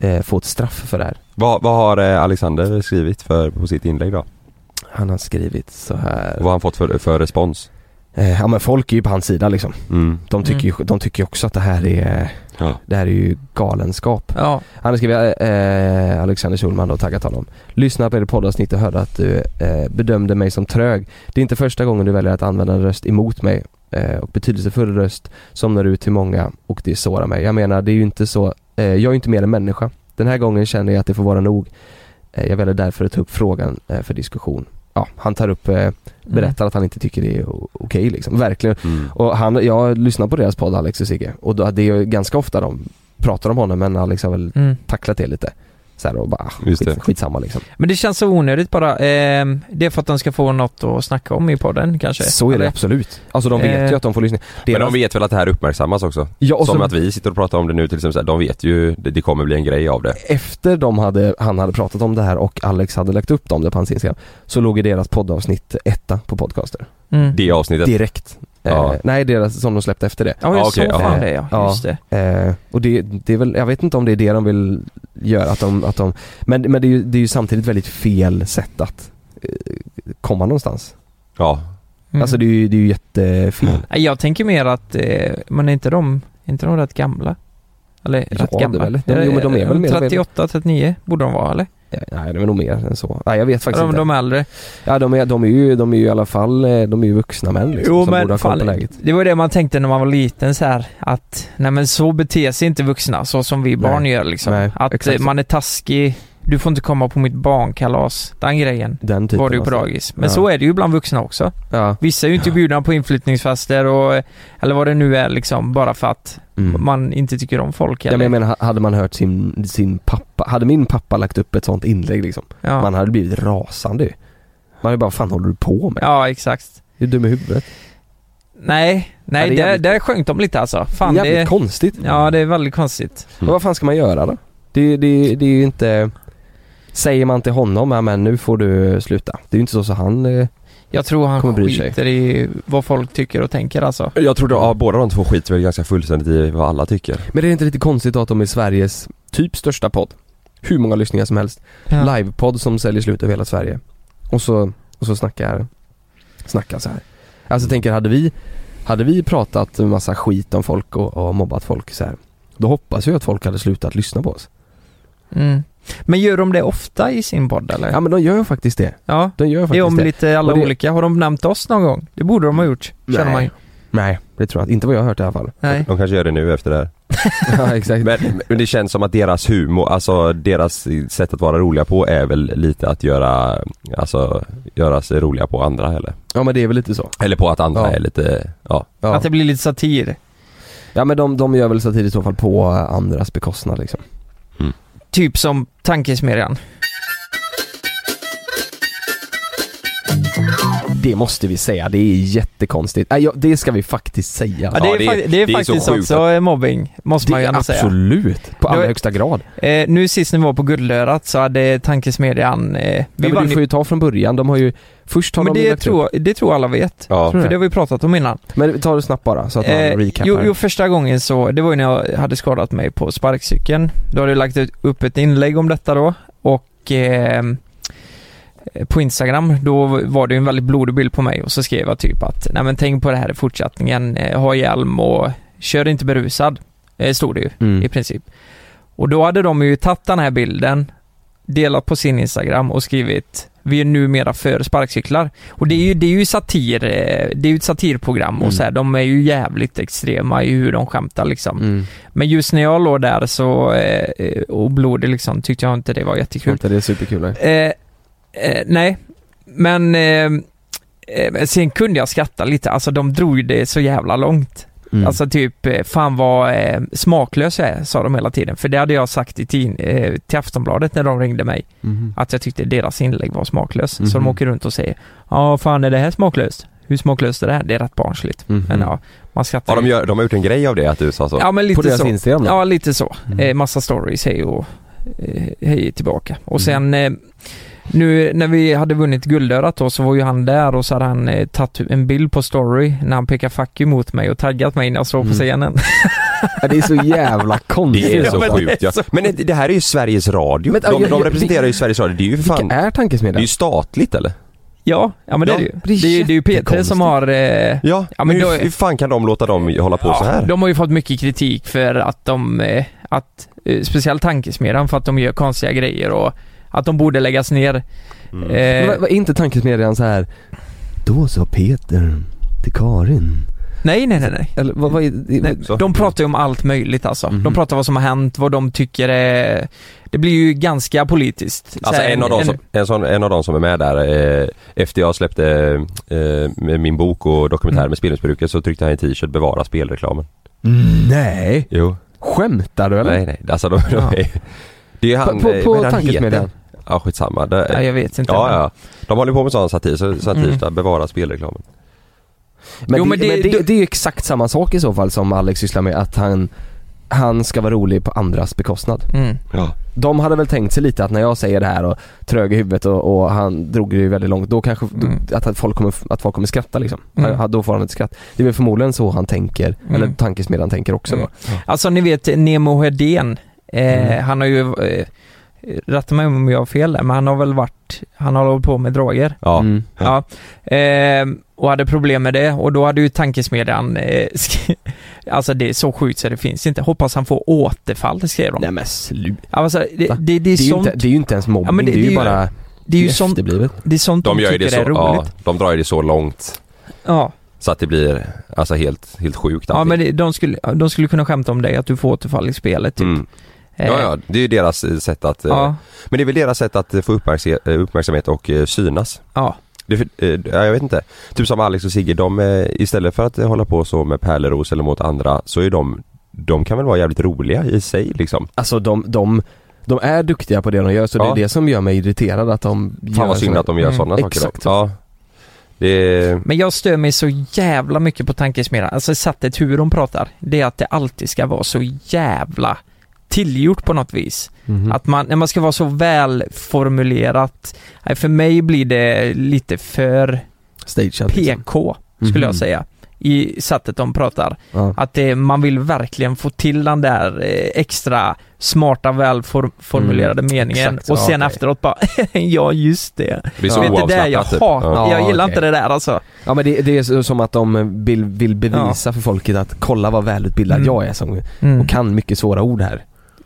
eh, få ett straff för det här.
Vad, vad har eh, Alexander skrivit för, på sitt inlägg då?
Han har skrivit så
Vad
här.
har han fått för, för respons?
Eh, ja men folk är ju på hans sida liksom.
Mm.
De tycker ju de tycker ju också att det här är,
Ja.
det här är ju galenskap.
Ja,
Han har skrivit, eh, Alexander Schulman och taggat honom. Lyssna på er poddavsnitt och hörde att du eh, bedömde mig som trög. Det är inte första gången du väljer att använda en röst emot mig eh, och betydelsefull röst somnar ut till många och det sårar mig. Jag menar, det är ju inte så, eh, jag är ju inte mer än människa. Den här gången känner jag att det får vara nog. Eh, jag väljer därför att ta upp frågan eh, för diskussion. Ja, han tar upp, eh,
Mm.
berättar att han inte tycker det är o- okej liksom. Verkligen
Mm.
och han, jag lyssnar på deras podd Alex och Sigge och då, det är ju ganska ofta de pratar om honom men Alex har väl
Mm.
tacklat det lite. Så här och bara, ah,
Just
skit,
det.
skitsamma liksom.
Men det känns så onödigt bara. Ehm, det är för att de ska få något att snacka om i podden kanske.
Så är det
Eller?
absolut. Alltså de vet
Eh.
ju att de får lyssna.
Men
Deras-
de vet väl att det här uppmärksammas också?
ja, och
Som
så
att vi sitter och pratar om det nu till exempel, så här, de vet ju, det, det kommer bli en grej av det.
Efter de hade, han hade pratat om det här och Alex hade lagt upp dem det på hans Instagram så låg ju deras poddavsnitt etta på podcaster.
Mm.
Det avsnittet.
Direkt.
Ja.
Eh, nej, deras som de släppte efter det.
Ja, jag
Ja, okej,
såg
ja.
fan det ja.
Ja.
Just det.
Eh, och det, det är väl, jag vet inte om det är det de vill göra, att de, att de men, men det är ju, det är ju samtidigt väldigt fel sätt att eh, komma någonstans.
Ja.
Mm.
Alltså det är ju, det är ju
Mm.
jättefel.
Nej, Jag tänker mer att, eh, men är inte de, är inte de rätt gamla? Eller
Ja,
rätt gamla?
det är väl- de- jo, men de är väl mer-
38, 39 borde de vara eller?
Eh, Nej det är nog mer än så. Nej jag vet faktiskt
de,
inte.
de är äldre.
ja, de, är, de, är ju, de är ju i alla fall, eh, de är ju vuxna män liksom, som borde ha koll på
fan,
läget.
det var ju det man tänkte när man var liten så här att nej men så beter sig inte vuxna så som vi barn gör liksom.
Nej,
att
exakt
eh,
så.
man är taskig, du får inte komma på mitt barnkalas. Den grejen
Den typen
var det ju på
av-
dagis. Men
Typ alltså. Ja.
så är det ju bland vuxna också.
Ja.
Vissa är ju inte bjudna på inflyttningsfester och eh, eller vad det nu är liksom bara för att
Mm.
man inte tycker om folk
Ja, men
eller.
jag menar, ha- hade man hört sin, sin pappa, hade min pappa lagt upp ett sånt inlägg liksom,
ja.
man hade blivit rasande ju. Man hade bara, vad fan håller du på med?
ja, exakt.
Du är dum i huvudet.
Nej, nej,
Ja, det är
där,
jävligt-
där sjönk de lite alltså. Fan
Jävligt
det...
konstigt.
Ja, det är väldigt konstigt.
Men vad fan ska man göra då? Det, det, det är ju inte... Säger man till honom, ja men nu får du sluta. Det är ju inte så så han... eh,
Jag tror
Kommer
han
bry sig.
skiter i vad folk tycker och tänker alltså.
Jag tror att ja, båda de två skiter väl ganska fullständigt i vad alla tycker.
Men det är inte lite konstigt då att de är Sveriges typ största podd? Hur många lyssningar som helst.
Ja.
Livepodd som säljer slut över hela Sverige. Och så, och så snackar, snackar så här. Alltså jag tänker, hade vi, hade vi pratat en massa skit om folk och, och mobbat folk så här. Då hoppas jag att folk hade slutat lyssna på oss.
Mm. Men gör de det ofta i sin podd eller?
Ja men de gör faktiskt det.
Ja.
De gör
Det är
faktiskt
om
det.
lite alla
Och det-
olika. Har de nämnt oss någon gång? Det borde de ha gjort, känner
Nej.
man ju.
Nej, det tror jag inte. Inte vad jag har hört i alla fall.
Nej.
De kanske gör det nu efter det här.
ja, exakt.
Men, men det känns som att deras humor, alltså deras sätt att vara roliga på är väl lite att göra, alltså göra sig roliga på andra eller?
Ja men det är väl lite så.
Eller på att andra
Ja.
är lite, ja.
Ja.
Att det blir lite satir.
Ja men de, de gör väl satir i så fall på eh, andras bekostnad liksom.
Typ som tankesmedjan.
Det måste vi säga, det är jättekonstigt. Nej, ja, det ska vi faktiskt säga.
Ja, det,
Ja,
är
det-
fak- det är
det är så
faktiskt
sjukt
också mobbing, måste man ju
alltså,
ändå säga.
absolut, på allra
Det-
högsta grad.
Eh, nu sist när vi var på Guldörat så hade tankesmedjan... Eh, vi
Nej, men
vann
du får ju ta från början, de har ju, först har
men
de ju
det
lagt
tror, det tror alla vet.
Ja.
typ. Tror du
För det har vi pratat om innan.
upp- Men ta det snabbt bara så att man recapar.
Eh, jo, jo, första gången så, det var ju när jag hade skadat mig på sparkcykeln. Då hade jag lagt ut- upp ett inlägg om detta då och eh, ehm, eh, på Instagram, då var det ju en väldigt blodig bild på mig och så skrev jag typ att nej men tänk på det här i fortsättningen, eh, ha hjälm och kör inte berusad. Eh, Stod det ju
Mm.
i princip. Och då hade de ju tagit den här bilden, delat på sin Instagram och skrivit vi är numera för sparkcyklar. Och det är ju, det är ju satir, eh, det är ju ett satirprogram och
Mm.
så här, de är ju jävligt extrema i hur de skämtar liksom.
Mm.
Men just när jag låg där så, eh, eh, och blodig liksom, tyckte jag inte det var
Tror
jättekul.
inte det är superkul nej.
Eh, eh, nej, men eh, eh, men sen kunde jag skratta lite, alltså de drog ju det så jävla långt.
Mm.
Alltså typ, eh, fan vad eh, smaklös jag är, sa de hela tiden. För det hade jag sagt i tin, eh, till Aftonbladet när de ringde mig,
Mhm.
att jag tyckte deras inlägg var smaklös. Så
Mhm.
de åker runt och säger, ja fan är det här smaklöst? Hur smaklöst är det här? Det är rätt barnsligt.
Mhm.
Men ja, man skrattar
Ja, de,
ju.
gör, de har gjort en grej av det att du sa så.
Ja men
På
lite
deras
så.
Instagram Mm. då?
Ja, lite så. Eh, massa stories, hej och eh, hej tillbaka.
Mm.
Och sen eh, nu när vi hade vunnit guldörat då så var ju han där och så hade han eh, tagit en bild på story när han pekade fuck you mot mig och taggat mig när jag stod på
Mm.
scenen.
Ja, Det är så jävla konstigt.
Det är
Ja,
så
men det är
sjukt Mm. ja.
så-
Men det- det här är ju Sveriges Radio.
Men, ja,
de,
jag-
de
jag-
representerar ju
vilka-
Sveriges Radio. Det är ju för fan,
Vilka
det
är
är
tankesmedjan?
ju statligt eller?
ja, ja men det
Ja,
är det ju.
det är
Det är, ju- det är ju Peter som har eh,
Ja,
Ja, men
men
då
hur,
är-
hur fan kan de låta dem hålla på så här?
De har ju fått mycket kritik för att de, eh, att, eh, speciellt tankesmedjan för att de gör konstiga grejer och att de borde läggas ner.
Mm.
Eh,
Men vad- vad Är inte tankesmedjan så här Då sa Peter till Karin.
nej, nej, nej, nej.
Eller vad, vad är det?
Nej,
Så.
de pratar ju om allt möjligt alltså.
Mhm.
De pratar vad som har hänt, vad de tycker är... Det blir ju ganska politiskt. Så
Alltså
här,
en av, dem som, en, sån, en av dem som är med där, eh, efter jag släppte eh, med min bok och dokumentär
Mm.
med spelmissbruket så tryckte han i en t-shirt bevara spelreklamen.
Nej!
Jo.
Skämtar du eller?
Nej nej, alltså de, de
Ja.
är, Det är han,
På- på-
eh,
på
vad är han
tankesmedjan?
heter? Ja skitsamma. Det,
Ja, jag vet inte.
ja, ja. De håller på med sån satir, så, satir
Mm.
där, bevara spelreklamen.
Men,
Jo,
det,
men det-
men det,
du-
det är ju exakt samma sak i så fall som Alex sysslar med att han han ska vara rolig på andras bekostnad.
Mm.
Ja.
De hade väl tänkt sig lite att när jag säger det här och trög i huvudet och, och han drog det ju väldigt långt, då kanske
Mm.
då, att, folk kommer, att folk kommer skratta liksom.
Mm.
Han- Då får han ett skratt. Det är väl förmodligen så han tänker,
Mm.
eller tankesmedjan tänker också
Mm.
då.
Alltså ni vet Nemo Hedén, eh,
Mm.
han har ju... Eh, Rätta mig om jag har fel där, men han har väl varit... Han har hållit på med droger.
Ja.
Mm.
Ja. Ehm, och hade problem med det och då hade ju tankesmedjan... Eh, sk- alltså det är så sjukt så det finns inte. Hoppas han får återfall, skrev de.
Nej men sluta.
Alltså, det,
Va?
det, det, är
Det är, ju
sånt,
inte, det är ju inte ens mobbning,
Ja, men
det,
det- det
är ju
är ju-
bara
det är ju sånt,
efterblivet.
det är sånt de,
De gör ju
tycker
det så,
är
ja,
roligt.
de drar ju det så långt
ja.
så att det blir alltså helt, helt sjukt
Ja
allting.
men det- de skulle, de skulle kunna skämta om dig att du får återfall i spelet typ.
Mm.
Eh,
Ja, ja, det är ju deras eh, sätt att eh,
ja,
Men det är väl deras sätt att eh, få uppmärkse- eh, uppmärksamhet och eh, synas.
ja.
Det, är för- eh, ja, jag vet inte. Typ som Alex och Sigge, de eh, istället för att eh, hålla på så med Pärleros eller mot andra så är de, de kan väl vara jävligt roliga i sig liksom.
Alltså de, de, de är duktiga på det de gör så det
Ja.
är det som gör mig irriterad att de gör
Fan vad synd
såna-
att de gör
Mm,
sådana saker
exakt.
då. Ja. Det är,
Men jag stör mig så jävla mycket på tankesmedjan, alltså sättet hur de pratar. Det är att det alltid ska vara så jävla tillgjort på något vis.
Mhm. Mm.
Att man, när man ska vara så välformulerat. Nej, För mig blir det lite för
Stageat liksom.
PK, skulle jag
Mhm.
säga. I sättet de pratar.
Ja.
Att det, man vill verkligen få till den där eh, extra smarta välformulerade meningen
Mm. Exakt,
och
ja,
sen
okej.
efteråt bara ja just det.
det är så
Vet du det jag
oavslappnat typ.
hatar?
Ja.
jag
Ja,
gillar
okej.
inte det där alltså.
ja men det, det är så- som att de vill, vill bevisa för folket att kolla vad välutbildad
Mm.
jag är som,
Mm,
och kan mycket svåra ord här.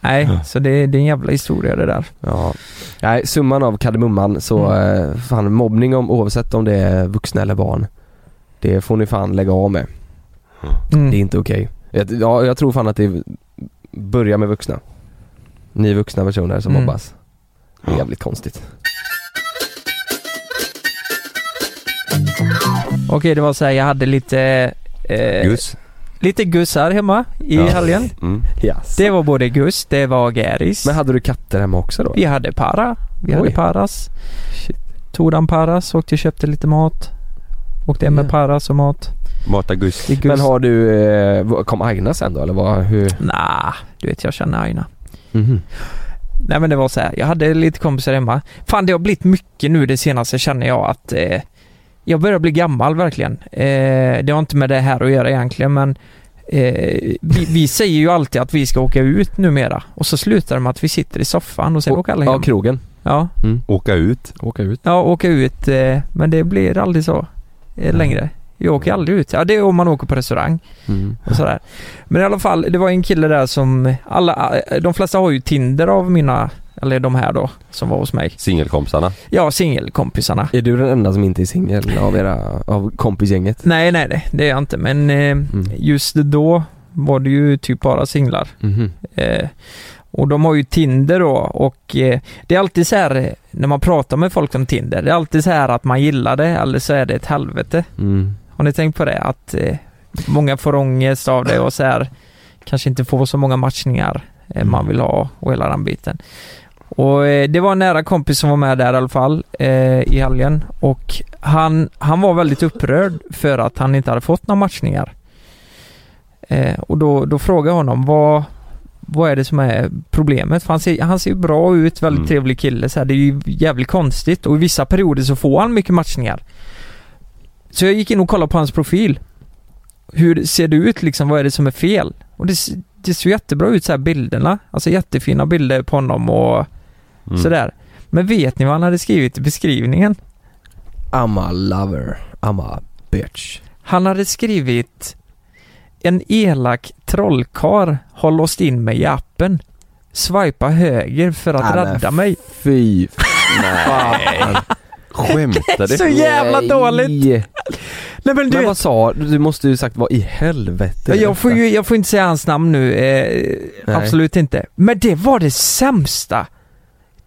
Nej,
Ja.
så det, det är en jävla historia det där.
Ja. Nej, summan av kardemumman så,
Mm.
eh, fan mobbning om, oavsett om det är vuxna eller barn. Det får ni fan lägga av med.
Mm.
Det är inte okej. Jag- Ja, jag tror fan att det börjar med vuxna. Ni vuxna personer som
Mm.
mobbas. Det är jävligt konstigt.
Okej, det var så här, jag hade lite... Eh,
Gus.
Lite guss här hemma i
Ja.
helgen.
Mm.
Yes.
Det var både guss, det var gäris.
Men hade du katter hemma också då?
Vi hade para. Vi hade
Oj.
paras.
Shit.
Tog den paras, åkte och köpte lite mat. Åkte hem med
Ja.
paras och mat.
Mata Gus.
Det är guss.
Men har du, eh, vad- kom Agna sen då eller vad, hur?
Nah, du vet jag känner Aina. Mm-hmm. Nej men det var så här. jag hade lite kompisar hemma. Fan det har blivit mycket nu det senaste känner jag att eh, jag börjar bli gammal verkligen. Eh, det har inte med det här att göra egentligen men eh, vi, vi säger ju alltid att vi ska åka ut numera och så slutar det med att vi sitter i soffan och sen åker alla
Ja,
hem.
krogen.
Ja,
Åka ut.
Åka ut.
ja åka ut eh, men det blir aldrig så eh, längre. Jag åker aldrig ut. Ja det är om man åker på restaurang
Mm.
och sådär. Men i alla fall, det var en kille där som alla, eh, de flesta har ju Tinder av mina, eller de här då, som var hos mig.
Singelkompisarna.
Ja, singelkompisarna.
Är du den enda som inte är singel av era, av kompisgänget?
Nej, nej, nej, det är jag inte. Men eh, just då var det ju typ bara singlar.
Mhm.
Eh, och de har ju Tinder då och eh, det är alltid så här eh, när man pratar med folk om Tinder. Det är alltid så här att man gillar det eller så är det ett helvete.
Mm.
Har ni tänkt på det? Att eh, många får ångest av det och så här kanske inte får så många matchningar eh, man vill ha och hela den biten. Och eh, det var en nära kompis som var med där i alla fall eh, i helgen och han, han var väldigt upprörd för att han inte hade fått några matchningar. Eh, och då, då frågade jag honom vad, vad är det som är problemet? För han ser, han ser ju bra ut, väldigt
Mm.
trevlig kille så här, det är ju jävligt konstigt och i vissa perioder så får han mycket matchningar. Så jag gick in och kollade på hans profil. Hur ser det ut liksom? Vad är det som är fel? Och det, s- det ser jättebra ut så här bilderna. Alltså jättefina bilder på honom och
Mm.
sådär. Men vet ni vad han hade skrivit i beskrivningen?
I'm a lover, I'm a bitch.
Han hade skrivit En elak trollkar har låst in mig i appen. Swipa höger för att
Nej, men
rädda mig.
Fy
Nej. Skämtar
Så
du?
jävla dåligt!
Nej.
Nej men du
Men
vet,
vad sa du? Du måste ju sagt vad i helvete är
jag får
detta?
ju, jag får inte säga hans namn nu. Eh,
Nej.
absolut inte. Men det var det sämsta!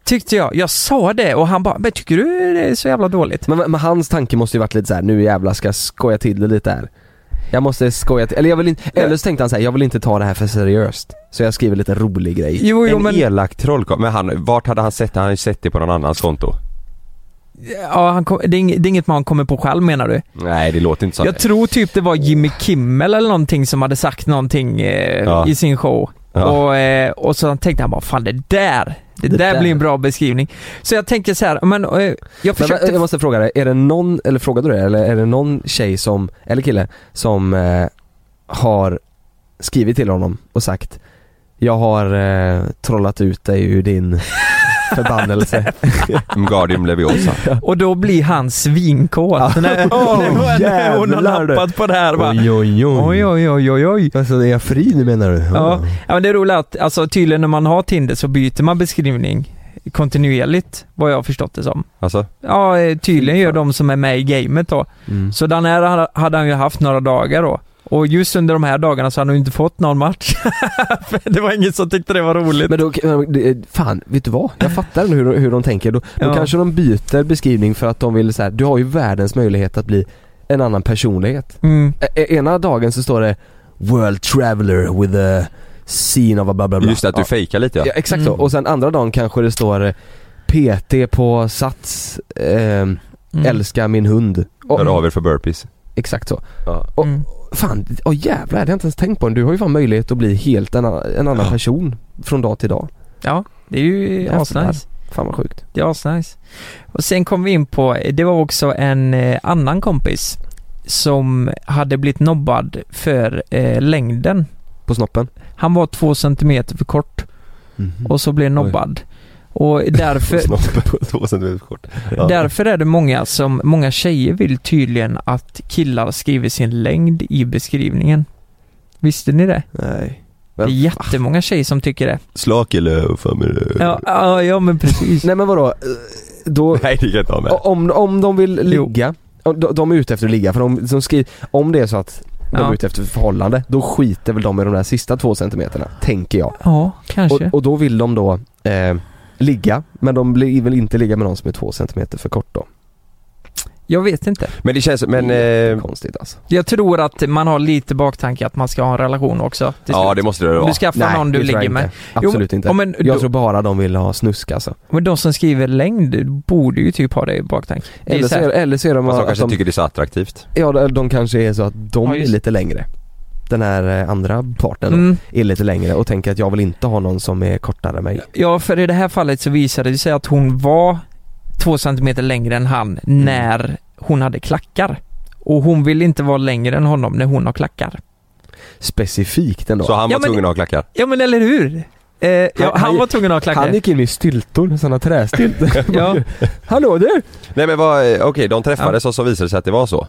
Tyckte jag. Jag sa det och han bara, men tycker du det är så jävla dåligt?
men, men hans tanke måste ju varit lite så här: nu jävlar ska jag skoja till det lite här. Jag måste skoja till, eller jag vill inte, eller så tänkte han så här, jag vill inte ta det här för seriöst. Så jag skriver lite rolig grej.
Jo, jo
En
men...
elak trollkarl. Men han, vart hade han sett det? Han hade ju sett det på någon annans konto.
Ja, han kom, det, är inget, det är inget man kommer på själv menar du?
Nej det låter inte så.
Jag tror typ det var Jimmy Kimmel eller någonting som hade sagt någonting eh,
Ja.
i sin show.
Ja.
Och, eh, och så tänkte han bara, fan det där, det,
Det
där,
där.
blir en bra beskrivning. Så jag tänker så här, men eh, jag
Men,
försökte...
jag måste fråga dig, är det någon, eller frågade du det, eller är det någon tjej som, eller kille, som eh, har skrivit till honom och sagt Jag har eh, trollat ut dig ur din förbannelse.
Guardium Leviosa.
Och då blir han svinkåt.
Ja.
När,
Åh,
när hon har
jävlar du.
nappat på det här bara,
oj
oj oj oj oj oj.
Alltså är jag fri nu menar du?
Ja, ja men det är roligt att alltså, tydligen när man har Tinder så byter man beskrivning kontinuerligt, vad jag har förstått det som.
Alltså?
Ja, eh, tydligen gör de som är med i gamet då.
Mm.
Så den här hade- hade han ju haft några dagar då. Och just under de här dagarna så hade han ju inte fått någon match. För det var ingen som tyckte det var roligt.
Men då, men det- fan, vet du vad? Jag fattar nu hur, hur de tänker. Då, då
Ja.
kanske de byter beskrivning för att de vill så här, du har ju världens möjlighet att bli en annan personlighet.
Mm.
Ä- ä- E, ena dagen så står det World Traveler with a scene of a bla bla bla.
Just det, att du
ja.
fejkar lite ja.
ja, exakt
Mm.
så. Och sen andra dagen kanske det står eh, PT på Sats, ehm,
Mm.
älska min hund. Och, mm,
Hör av er för burpees.
Exakt så.
Ja.
Och,
Mm.
Fan, åh jävlar, det har jag inte ens tänkt på. Du har ju fan möjlighet att bli helt en, annan- en annan
Ja.
person från dag till dag.
Ja, det är ju
Jävlar.
asnice.
Fan vad sjukt.
Det är asnice. Och sen kom vi in på, det var också en eh, annan kompis som hade blivit nobbad för eh, längden.
På snoppen.
Han var två centimeter för kort och så blev nobbad. Och därför,
Snoppen på två centimeter kort. Ja.
Därför är det många som, många tjejer vill tydligen att killar skriver sin längd i beskrivningen. Visste ni det?
Nej.
Det är jättemånga tjejer som tycker det.
Slakelöv eh, för mig.
Ja, ja, ja men precis.
Nej men vadå? Eh, Då,
Nej det kan jag inte ha med.
o- om, om de vill
Jo.
ligga, om de, de är ute efter att ligga för de, de skriver, om det är så att de
Ja.
är ute efter förhållande, då skiter väl de i de där sista två centimeterna, tänker jag.
Ja, kanske.
Och, och då vill de då eh, ligga, men de blir- vill inte ligga med någon som är två centimeter för kort då.
Jag vet inte.
Men det känns, men...
det är
Eh,
konstigt alltså.
Jag tror att man har lite baktanke att man ska ha en relation också. till
ja
slut.
det måste det vara.
Du skaffar någon
det
du
tror jag
ligger med.
inte. Absolut
Jo,
inte.
ja, men,
jag
då-
tror bara de vill ha snusk alltså.
men de som skriver längd borde ju typ ha det i baktanke. Det är
Eller
ju
så,
så
är,
här,
eller så är de,
Fast de
att
kanske
de,
tycker det är så attraktivt.
ja, de- de kanske är så att de
Ja,
är
just-
lite längre. Den här eh, andra parten då,
mm,
är lite längre och tänker att jag vill inte ha någon som är kortare än mig.
ja, för i det här fallet så visade det sig att hon var två centimeter längre än han
Mm.
när hon hade klackar. Och hon vill inte vara längre än honom när hon har klackar.
Specifikt ändå.
Så han var
Ja, men-
tvungen att ha klackar.
Ja men eller hur? Eh, ja, han,
han-
var tvungen att ha klackar.
Han gick in i styltor, sådana trästyltor.
ja.
Hallå du!
Nej men vad, eh, okej de träffades och så visade det sig att det var så.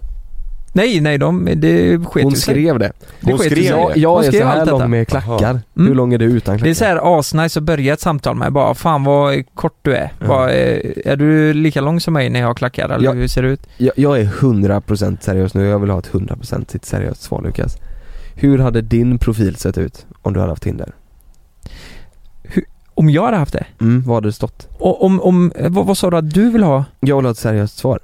Nej, nej, de, det sket
Hon
ju sig.
skrev det.
Det
hon
sket ju
skrev
sig.
det.
Jag, jag
Hon
är
skrev
så här
allt detta.
lång med klackar.
Aha.
Hur
Mm.
lång är du utan klackar?
Det är så här asnice att börja ett samtal med bara, fan vad kort du är. Vad, eh, är du lika lång som mig när jag klackar eller
Ja.
hur ser det ut?
Jag, jag är 100% seriös nu, jag vill ha ett 100% seriöst svar Lukas. Hur hade din profil sett ut om du hade haft Tinder?
Om jag hade haft det?
Mm, vad hade det stått?
Och om, om eh, vad, vad sa du att du vill ha?
Jag vill ha ett seriöst svar.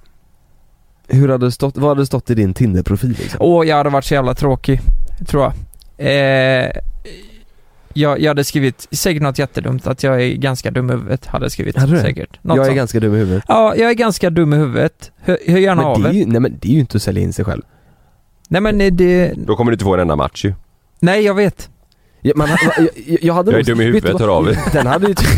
Hur hade det stått, vad hade det stått i din Tinder-profil liksom?
Åh, jag hade varit så jävla tråkig, tror jag. Eh, jag, jag hade skrivit, säkert något jättedumt, att jag är ganska dum i huvudet, hade jag skrivit.
Hade du det?
säkert. Något
Jag är
sånt.
ganska dum i huvudet.
Ja, jag är ganska dum i huvudet. Hör, hör gärna
Men
av
det, är
er.
ju, nej, men det är ju inte att sälja in sig själv.
Nej men eh, det,
Då kommer du inte få en enda match ju.
nej jag vet.
Jag, man, jag, jag, jag, hade
Jag är
nog-
dum i
vet
huvudet,
du vad?
hör av er.
Den hade ju typ,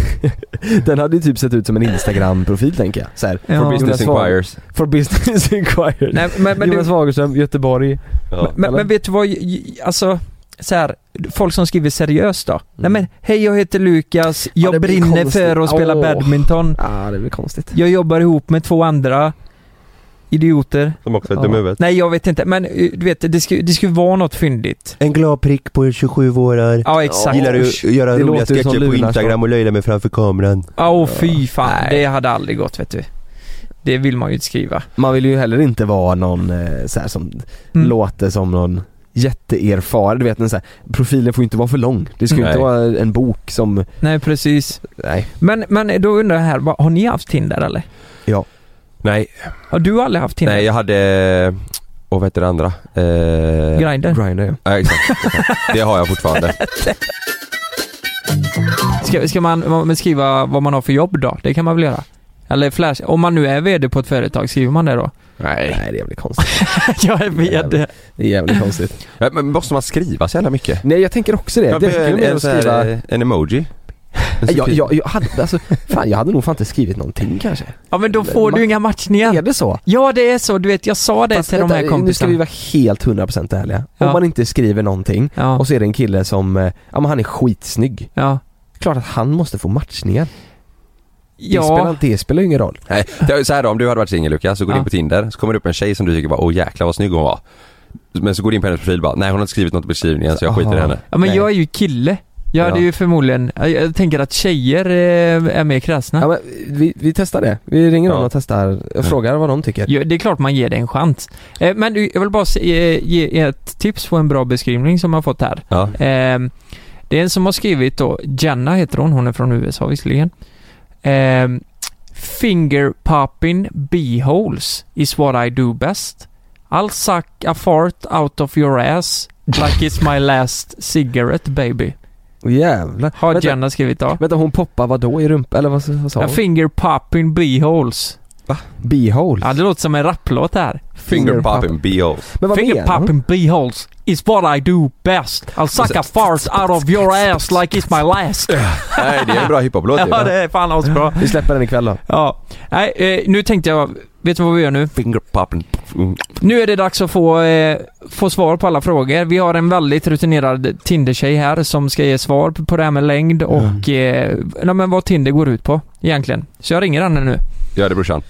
den hade ju typ sett ut som en Instagram-profil tänker jag. Så här,
Ja.
Jonas
Business
Wahlgren-
inquires.
For business inquired.
Nej, men, men du,
Jonas Wagerström, Göteborg.
Ja.
Men,
Eller?
men vet du vad, j- j- alltså så här, folk som skriver seriöst då? Nej men, hej jag heter Lukas, jag
Mm. det blir
brinner
konstigt.
för att spela
Åh.
badminton,
Ja, ah, det blir konstigt.
jag jobbar ihop med två andra idioter.
Som också är
Ja.
dum i huvudet.
Nej jag vet inte, men eh, du vet det skulle det skulle vara något fyndigt.
En glad prick på 27 år.
Ja exakt.
Gillar du att göra
Det
roliga
låter ju som
sketcher på
Lunarstorm.
Instagram och löjla mig framför kameran?
Ja åh, fy fan,
Nej.
det hade aldrig gått vet du. Det vill man ju inte skriva.
Man vill ju heller inte vara någon eh, så här, som
Mm.
låter som någon jätteerfaren. Du vet, en så här, profilen får ju inte vara för lång. Det ska ju
Mm.
inte
Nej.
vara en bok som,
Nej precis.
nej.
Men, men då undrar jag här, vad- har ni haft Tinder eller?
Nej,
Har du aldrig haft Tinder?
nej jag hade, och vad heter det andra? Eh,
Grindr?
Grindr ja.
Ja, exakt. exakt. Det har jag fortfarande.
Ska, ska man, man skriva vad man har för jobb då? Det kan man väl göra? Eller flash, om man nu är VD på ett företag, skriver man det då?
Nej.
Nej det är jävligt konstigt.
jag är VD.
Det är jävligt konstigt.
Ja, Men måste man skriva så jävla mycket?
Nej jag tänker också det. Det räcker ju
en,
med
en,
att
så här,
skriva. Nej,
eh, en emoji. En
Äh, Jag,
sekund.
jag, jag, hade, alltså, fan, jag hade nog fan inte skrivit någonting kanske.
Ja men då får du inga
Är
matchningar.
det så?
Ja det är så, du vet jag sa det
Fast
till de
vänta,
här
Nu ska vi
kompisarna.
vara helt 100% ärliga.
Ja.
Om man inte skriver någonting
Ja,
och så är det en kille som, eh, ja men han är skitsnygg.
ja.
Klart att han måste få matchningar. Det, spelar,
Ja,
det spelar ju ingen roll.
Nej, det är ju så här då, om du hade varit singel Lukas, så går du
Ja.
in på Tinder, så kommer det upp en tjej som du tycker bara åh jäklar vad snygg hon var. Men så går du in på hennes profil och bara, nej hon har inte skrivit något i beskrivningen så jag skiter i
Aha.
henne.
ja men
Nej.
jag är ju kille. Jag hade
Ja.
ju förmodligen, jag, jag tänker att tjejer eh, är mer kräsna.
Ja, men vi, vi testar det. Vi ringer dem
Ja.
och testar och frågar vad de tycker.
Ja, det är klart man ger det en chans. Eh, men du, jag vill bara se, eh, ge ett tips på en bra beskrivning som jag fått här.
Ja.
Ehm, det är en som har skrivit då, Jenna heter hon, hon är från USA visserligen. Ehm, finger popping beeholes is what I do best. I'll suck a fart out of your ass like it's my last cigarette baby.
Åh, Jävlar.
Har
vänta,
Jenna skrivit då.
vänta, hon poppar vad då i rumpan? Eller vad, vad sa
A
hon?
finger popping beeholes.
Beehole.
Ja, det låter som en raplåt här.
Finger popping BO.
Men vad
Finger
menar hon?
popping beeholes is what I do best. I'll suck a fart out of your ass like it's my last.
Nej det är en bra hiphop-låt
Ja, det
ju.
är fan asbra.
Vi släpper den ikväll då.
Ja, nej, eh, nu tänkte jag, vet du vad vi gör nu?
Finger popping. Mm.
Nu är det dags att få, eh, få svar på alla frågor. Vi har en väldigt rutinerad Tinder-tjej här som ska ge svar på- på det här med längd och eh, nej, men vad Tinder går ut på egentligen. Så jag ringer henne nu.
Gör det brorsan.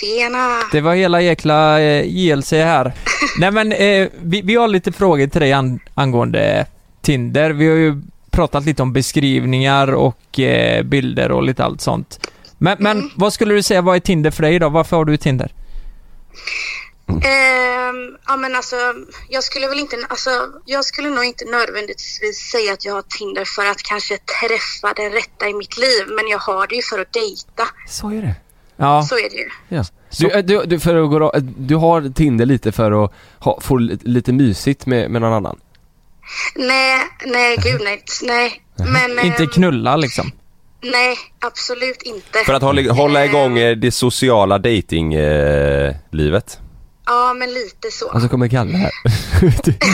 Tjena!
Det var hela jäkla eh, JLC här. Nej men eh, vi, vi har lite frågor till dig an, angående Tinder. Vi har ju pratat lite om beskrivningar och eh, bilder och lite allt sånt. Men, men vad skulle du säga, vad är Tinder för dig då? Varför har du Tinder?
Ehm, ja men alltså, jag skulle väl inte, alltså, jag skulle nog inte nödvändigtvis säga att jag har Tinder för att kanske träffa den rätta i mitt liv. Men jag har det ju för att dejta.
Så är det.
Ja,
Så är det ju.
Ja. Du, eh, du, du, för att gå, ra- du har Tinder lite för att ha, få li- lite mysigt med, med någon annan?
Nej, nej gud nej. nej. Men,
inte
ehm,
knulla liksom.
Nej, absolut inte. Ehm,
För att hålla, hålla igång eh, det sociala datinglivet. Eh, livet.
Ja men lite så.
Alltså,
Och så kommer Kalle här.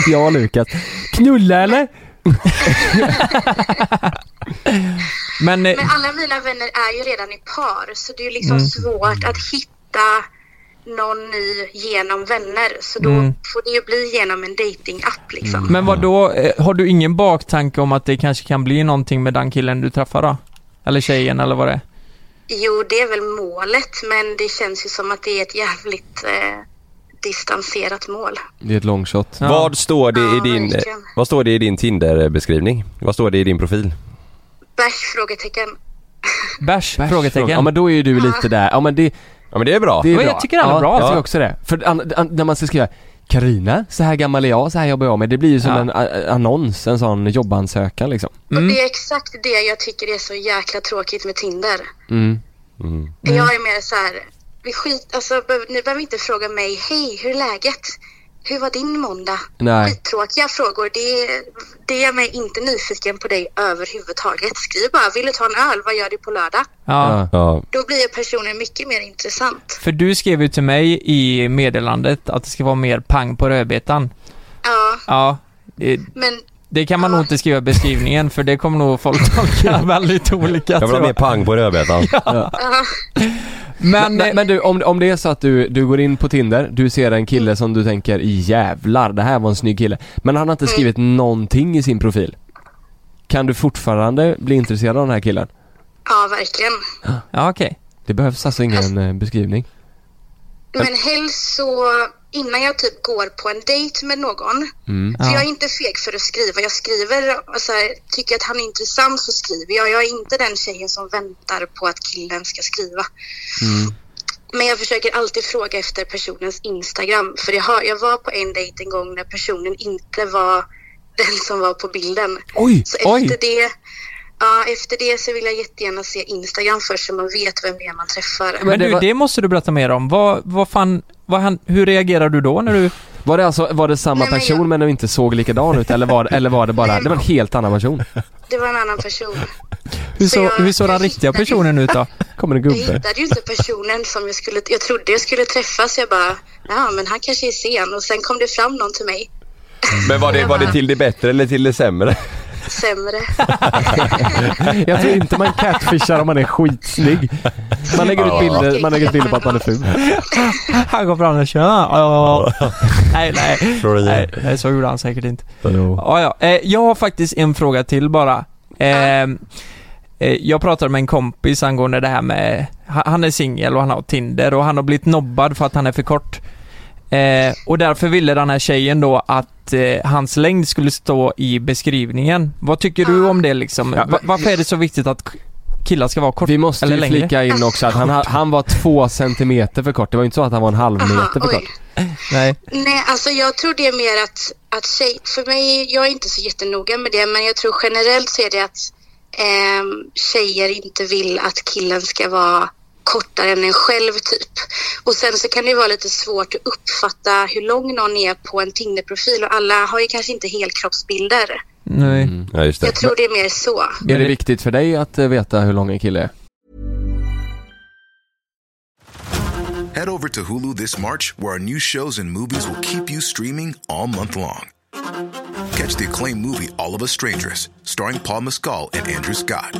jag och Lukas. Knulla eller?
Men, eh,
Men alla mina vänner är ju redan i par så det är ju liksom svårt att hitta någon ny genom vänner. Så då får det ju bli genom en dating-app liksom.
Mm. men vad då eh, har du ingen baktanke om att det kanske kan bli någonting med den killen du träffar då? Eller tjejen eller vad det är?
Jo, det är väl målet, men det känns ju som att det är ett jävligt eh, distanserat mål.
Det är ett longshot.
Ja.
Vad står det
Ja,
i din, eh,
verkligen.
vad står det i din Tinder-beskrivning? Vad står det i din profil?
Bärs? Frågetecken.
Bärs? Frågetecken.
Ja men då är ju du lite där, ja men det,
Ja men det är bra.
det är
Men
bra.
jag tycker den är
ja,
bra.
Jag tycker
Ja.
också det. För an, an, när man ska skriva Karina, så här gammal är jag, så här jobbar jag med. Det blir ju som
Ja.
en a, annons, en sån jobbansökan liksom.
Och det är exakt det jag tycker är så jäkla tråkigt med Tinder.
Mm.
Jag är mer så här, vi skit, alltså, be- ni behöver inte fråga mig, hej, hur är läget? Hur var din måndag?
Nej.
Skittråkiga frågor, det, det gör mig inte nyfiken på dig överhuvudtaget. Skriv bara, vill du ta en öl? Vad gör du på lördag?
ja.
Ja.
Ja.
Då blir ju personen mycket mer intressant.
För du skrev ju till mig i meddelandet att det ska vara mer pang på rödbetan.
Ja,
Ja. Det,
men
det kan man nog inte skriva i beskrivningen för det kommer nog folk tolka väldigt olika.
Jag vill
tror
ha mer
jag.
pang på rödbetan.
Men,
Men, men du, om, om det är så att du, du går in på Tinder, du ser en kille som du tänker jävlar, det här var en snygg kille. Men han har
Mm.
inte skrivit någonting i sin profil. Kan du fortfarande bli intresserad av den här killen?
ja, verkligen.
ja okej.
Det behövs alltså ingen eh, beskrivning.
Men helst så innan jag typ går på en dejt med någon. För
Ja.
jag är inte feg för att skriva. Jag skriver och så här, tycker jag att han är intressant så skriver jag. Jag är inte den tjejen som väntar på att killen ska skriva.
Mm.
Men jag försöker alltid fråga efter personens Instagram. För jag, har, jag var på en dejt en gång när personen inte var den som var på bilden.
Oj,
Så
oj.
efter det, ja, efter det så vill jag jättegärna se Instagram först så man vet vem det är man träffar.
Men
det
du,
var-
det måste du berätta mer om. Vad, vad fan, vad han, hur reagerar du då när du...
Var det alltså, var det samma
Nej, men
person
jag-
men de inte såg likadan ut eller var, eller var det bara, det var en helt annan person?
Det var en annan person.
Hur,
Så
så,
jag-
hur såg den
jag
riktiga
hittade-
personen ut då?
Kommer en
Jag
gubbe.
hittade ju inte personen som jag skulle, jag trodde jag skulle träffa så jag bara, ja men han kanske är sen och sen kom det fram någon till mig
Men var det, var det till det bättre eller till det sämre?
sämre.
Jag tror inte man catfishar om man är skitsnygg. Man lägger ut bilder, man lägger ut bilder på att man är ful.
Han går fram och kör. Ja, ja, ja. Nej, nej.
Slår igen.
nej. Nej, så gjorde han säkert inte. Ja, ja. Eh, jag har faktiskt en fråga till bara. Eh, eh, jag pratade med en kompis angående det här med, ha- han är singel och han har Tinder och han har blivit nobbad för att han är för kort. Eh, och därför ville den här tjejen då att eh, hans längd skulle stå i beskrivningen. Vad tycker du om det liksom? Va- varför är det så viktigt att k- killar ska vara korta?
Vi måste
Eller
ju
längre.
flika in också att han, ha- han var två centimeter för kort. Det var ju inte så att han var en halv meter för kort.
Nej.
Nej, alltså jag tror det är mer att, att tjej, för mig, jag är inte så jättenoga med det, men jag tror generellt så är det att ehm, tjejer inte vill att killen ska vara kortare än en själv typ. Och sen så kan det ju vara lite svårt att uppfatta hur lång någon är på en Tinder-profil och alla har ju kanske inte helkroppsbilder.
Nej.
Ja just det.
Jag tror det är mer så.
Är det viktigt för dig att eh, veta hur lång en kille är?
Head over to Hulu this March, where our new shows and movies will keep you streaming all month long. Catch the acclaimed movie All of Us Strangers, starring Paul Mescal and Andrew Scott.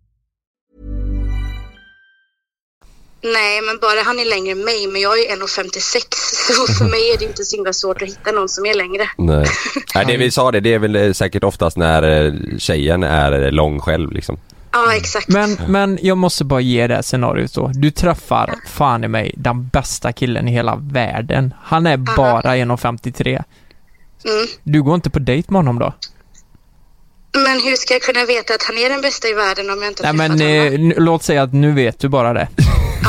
Nej, men bara han är längre än mig. Men jag är ju 1,56 så för mig är det inte så himla svårt att hitta någon som är längre.
Nej. Nej, det vi sa det, det är väl eh, säkert oftast när eh, tjejen är eh, lång själv liksom.
Ja, exakt.
Men, men jag måste bara ge det här scenariot då. Du träffar fan i mig den bästa killen i hela världen. Han är bara 1,53.
Mm.
Du går inte på dejt med honom då?
Men hur ska jag kunna veta att han är den bästa i världen om jag inte
Nej
har träffat
men
honom?
eh, nu- låt säga att nu vet du bara det.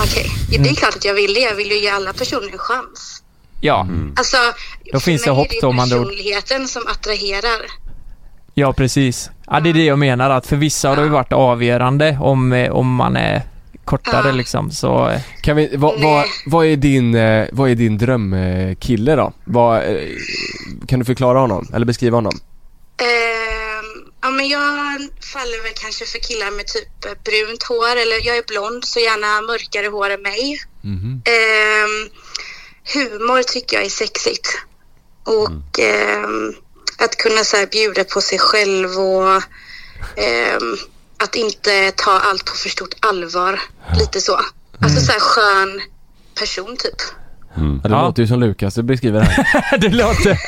Okej, det
mm.
är klart att jag vill det. Jag vill ju ge alla personer en chans.
Ja,
Mm.
Alltså,
Då
för
finns det
mig
hopp
är ju
då, om andra ord.
personligheten som attraherar.
ja precis. Ja det är det jag menar att för vissa har det ju varit avgörande om, eh, om man är kortare liksom så... eh,
Kan vi, vad, vad, vad är din, eh, vad är din drömkille då? Vad, eh, kan du förklara honom? Eller beskriva honom?
Ehm, ja, men jag faller väl kanske för killar med typ eh, brunt hår eller jag är blond så gärna mörkare hår än mig. Ehm, humor tycker jag är sexigt. Och ehm, att kunna så här, bjuda på sig själv och ehm, att inte ta allt på för stort allvar. Lite så. Alltså så här skön person typ.
Ja, det låter ju som Lukas du beskriver det här.
det låter...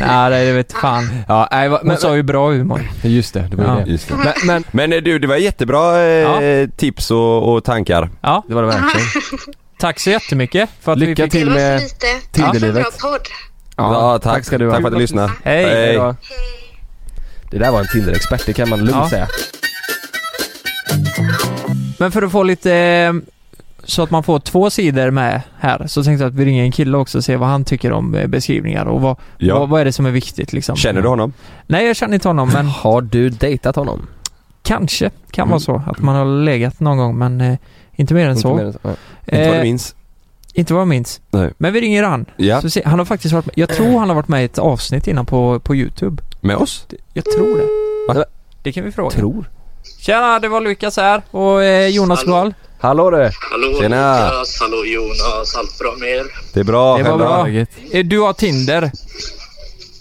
Nej det vet fan.
ja, nej, va- men,
Hon sa ju bra humor.
just det, det var ju
Ja.
det.
Just det.
Men, men,
Men eh, du, det var jättebra eh, tips och, och tankar.
Ja,
det var det verkligen.
tack så jättemycket för att vi
Lycka
fick...
till.
Det var
med
så lite.
Ja.
Tack för en bra
tidelivet.
podd.
Ja, tack.
tack ska du ha.
Tack för att du lyssnade. Eh,
Hej.
Hej då. Det där var en Tinder-expert, det kan man lugnt
Ja.
säga.
Men för att få lite... eh, Så att man får två sidor med här så tänkte jag att vi ringer en kille också och ser vad han tycker om eh, beskrivningar och vad,
Ja.
vad, vad är det som är viktigt liksom.
Känner du honom?
Nej jag känner inte honom men
Har du dejtat honom?
kanske kan
Mm.
vara så att man har legat någon gång men eh, inte mer än så.
Inte mer än så. Ja.
Inte vad du
Eh,
minns?
Inte vad jag minns.
Nej.
Men vi ringer han.
Ja.
Så se, han har faktiskt varit med, jag tror han har varit med i ett avsnitt innan på, på Youtube.
Med oss?
Det- Jag tror det.
Va?
Det kan vi fråga.
Tror.
Tjena, det var Lukas här och eh, Jonas
Hallå.
Gahl.
Hallå du!
Hallå
Tjena.
Lukas, hallå Jonas, allt bra med er?
Det är bra.
Det var
själv
bra.
då?
Eh, Du har Tinder.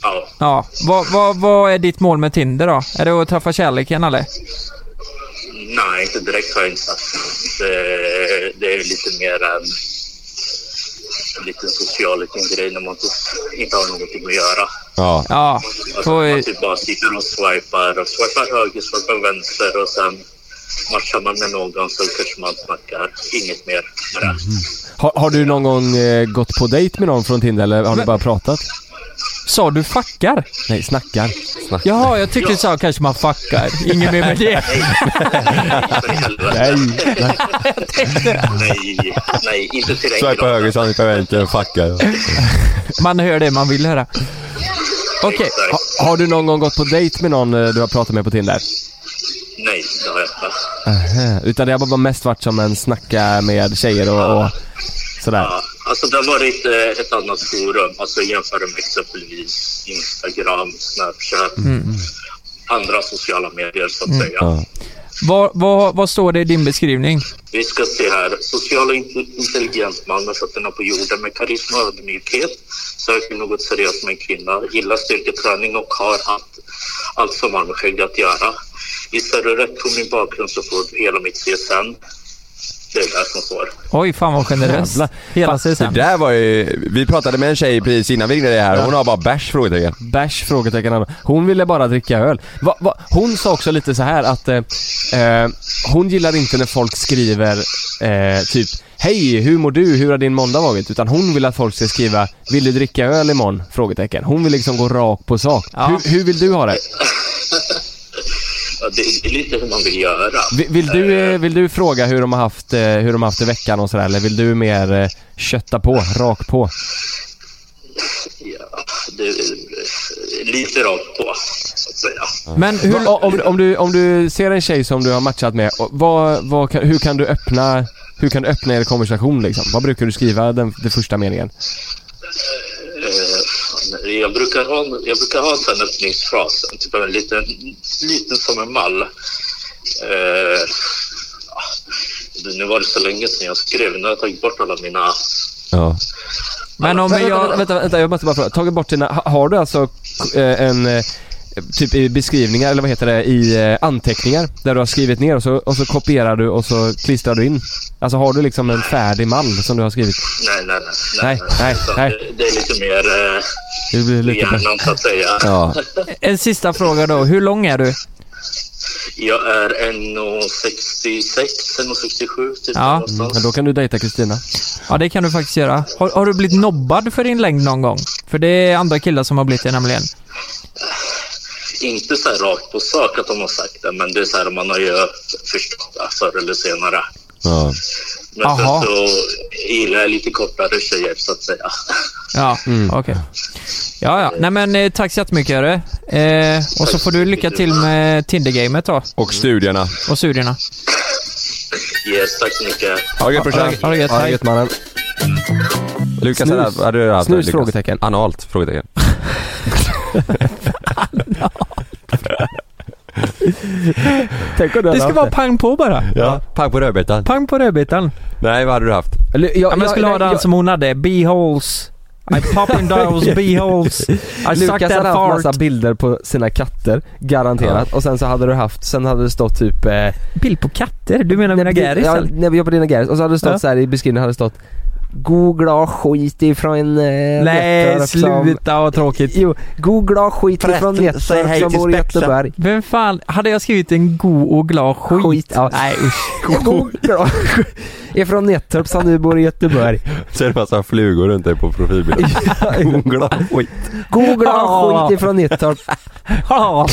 Ja,
Ja, vad, vad, vad är ditt mål med Tinder då? Är det att träffa kärleken eller?
nej inte direkt har jag inte sagt. Det, det är lite mer en liten social liten grej när man inte- inte har någonting att göra.
Ja.
Ja,
Alltså,
så, eh,
man typ bara sitter och swipar, och swipar höger, swipar vänster och sen matchar man med någon så kanske man snackar. Inget mer med det.
Har, har du någon gång eh, gått på dejt med någon från Tinder eller har du bara pratat?
sa du fuckar?
Nej, snackar.
Jaha, jag tyckte du sa kanske man fuckar. Inget mer med det.
För i helvete. nej, nej, inte till den
Swipa
graden.
höger, swipa vänster, fuckar.
Man hör det man vill höra. Okej,
Exakt.
Ha, har du någon gång gått på dejt med någon eh, du har pratat med på Tinder?
Nej, det har jag inte.
Aha. Utan det har bara mest varit som en snacka med tjejer och, och sådär.
Ja, alltså det har varit eh, ett annat forum. Alltså jämför med exempelvis Instagram, Snapchat, andra sociala medier så att säga.
vad, vad, vad står det i din beskrivning?
Vi ska se här. Social och inte- intelligent man med fötterna på jorden med karisma och ödmjukhet. Söker något seriöst med en kvinna. Gillar styrketräning och har allt, allt som har med skägg att göra. Gissar du rätt på min bakgrund så får du hela mitt CSN. Det är det som står.
Oj, fan vad generös.
Jävlar.
Hela CSN.
Det där var ju... Vi pratade med en tjej precis innan vi ringde dig här. Hon har bara bärs? frågetecken.
Bärs? Frågetecken. Hon ville bara dricka öl. Va, va, hon sa också lite så här att eh, eh, hon gillar inte när folk skriver eh, typ Hej, hur mår du? Hur har din måndag varit? Utan hon vill att folk ska skriva Vill du dricka öl imorgon? Frågetecken. Hon vill liksom gå rakt på sak.
Ja.
Hur, hur vill du ha det?
Ja, det är lite hur man vill göra.
Vill, vill, du, eh, vill du fråga hur de har haft, eh, hur de har haft i veckan och sådär? Eller vill du mer eh, kötta på, rakt på?
Ja, det är lite rakt på, så att säga.
Men hur...
Va- om, om, du, om du ser en tjej som du har matchat med, och vad, vad, kan- hur kan du öppna hur kan du öppna er konversation liksom? Vad brukar du skriva den, den första meningen?
Eh, Jag brukar ha, jag brukar ha en sån här öppningsfras, typ en liten, liten som en mall. Eh, ja, nu var det så länge sedan jag skrev, nu har jag tagit bort alla mina...
Ja.
Men om
vänta,
jag...
vänta, vänta, vänta, jag måste bara fråga. Tagit bort dina, ha- har du alltså eh, en, eh,
typ i beskrivningar eller vad heter det, i eh, anteckningar där du har skrivit ner och så, och så kopierar du och så klistrar du in? Alltså har du liksom en färdig mall som du har skrivit?
Nej, nej, nej.
Nej, nej,
Utan
nej.
Det, det är lite mer eh,
Det blir lite
hjärnan så att säga.
En sista fråga då. Hur lång är du?
Jag är 1,66, 1,67 typ.
Ja.
någonstans.
då kan du dejta Kristina.
Ja, det kan du faktiskt göra. Har, har du blivit nobbad för din längd någon gång? För det är andra killar som har blivit det nämligen.
Inte så här rakt på sak att de har sagt det, men det är så här man har ju förstått det förr eller senare.
Ja.
Men
Aha.
sen så gillar jag lite kortare tjejer så att säga.
Ja,
Mm.
okej. Ja, ja. Nej men eh, tack så jättemycket hörru. Eh, och så får du lycka till med Tinder-gamet då.
Och studierna.
Och studierna.
Yes, tack så mycket.
Ha det gött brorsan.
Ha det gött, Ha det hej. gött,
mannen.
Lukas,
Snus.
hade- hade du haft
Snus?
Lukas?
Frågetecken.
Analt? Frågetecken.
Tänk om du
Det
hade
ska
haft
vara pang på bara.
Ja. Pang på rödbetan.
Pang på rödbetan.
Nej, vad hade du haft?
Eller, jag,
Ja, men jag skulle ha den som hon hade. B-holes. I pop in those b-holes. I suck
Lukas hade
that
haft
fart.
massa bilder på sina katter, garanterat. Och sen så hade du haft, sen hade det stått typ... Eh,
Bild på katter? Du menar mina gäris
ja,
eller?
nej, vi var på dina Garris. Och så hade det stått
Ja.
så här i beskrivningen, hade det stått Googla skit ifrån eh,
Nej,
Rättorp som...
sluta vad tråkigt.
Jo, googla skit ifrån Rättorp som bor i Göteborg.
Vem fan, hade jag skrivit en god och glad skit? Nej usch.
Googla ifrån Nättorp som nu bor i Göteborg.
Så är det massa flugor runt dig på profilbilden. Googla skit.
Googla
Ja.
skit ifrån Nättorp.
Ja,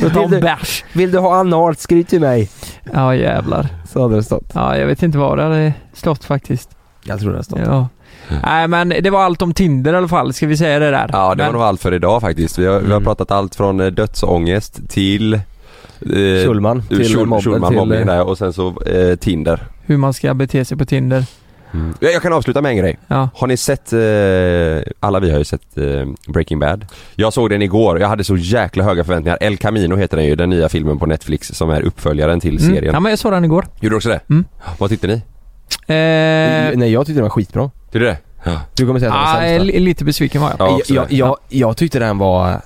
Vill
ta en
du-
bärs.
Vill du ha analt, skriv till mig.
Ja jävlar.
Så hade det stått.
Ja, jag vet inte vad det hade stått faktiskt.
Jag tror det hade stått.
Ja. Nej men det var allt om Tinder i alla fall, ska vi säga det där?
Ja, det
men,
var nog allt för idag faktiskt. Vi har, vi har pratat allt från eh, dödsångest till... Eh,
Schulman, till
Schul-
mobben,
Schulman,
till-
mobbning där och sen så eh, Tinder.
Hur man ska bete sig på Tinder.
Ja, Jag kan avsluta med en grej.
Ja.
Har ni sett, eh, alla vi har ju sett eh, Breaking Bad. Jag såg den igår, jag hade så jäkla höga förväntningar. El Camino heter den ju, den nya filmen på Netflix som är uppföljaren till
Mm.
serien.
Ja men jag såg den igår.
Gjorde du också det?
Mm.
Vad tyckte ni?
Eh,
Nej, jag tyckte den var skitbra.
Tyckte du det? Ja.
Du kommer säga att
ah,
den var sämst.
li- lite besviken var jag.
Ja,
va?
också
jag,
det.
jag, jag tyckte den var,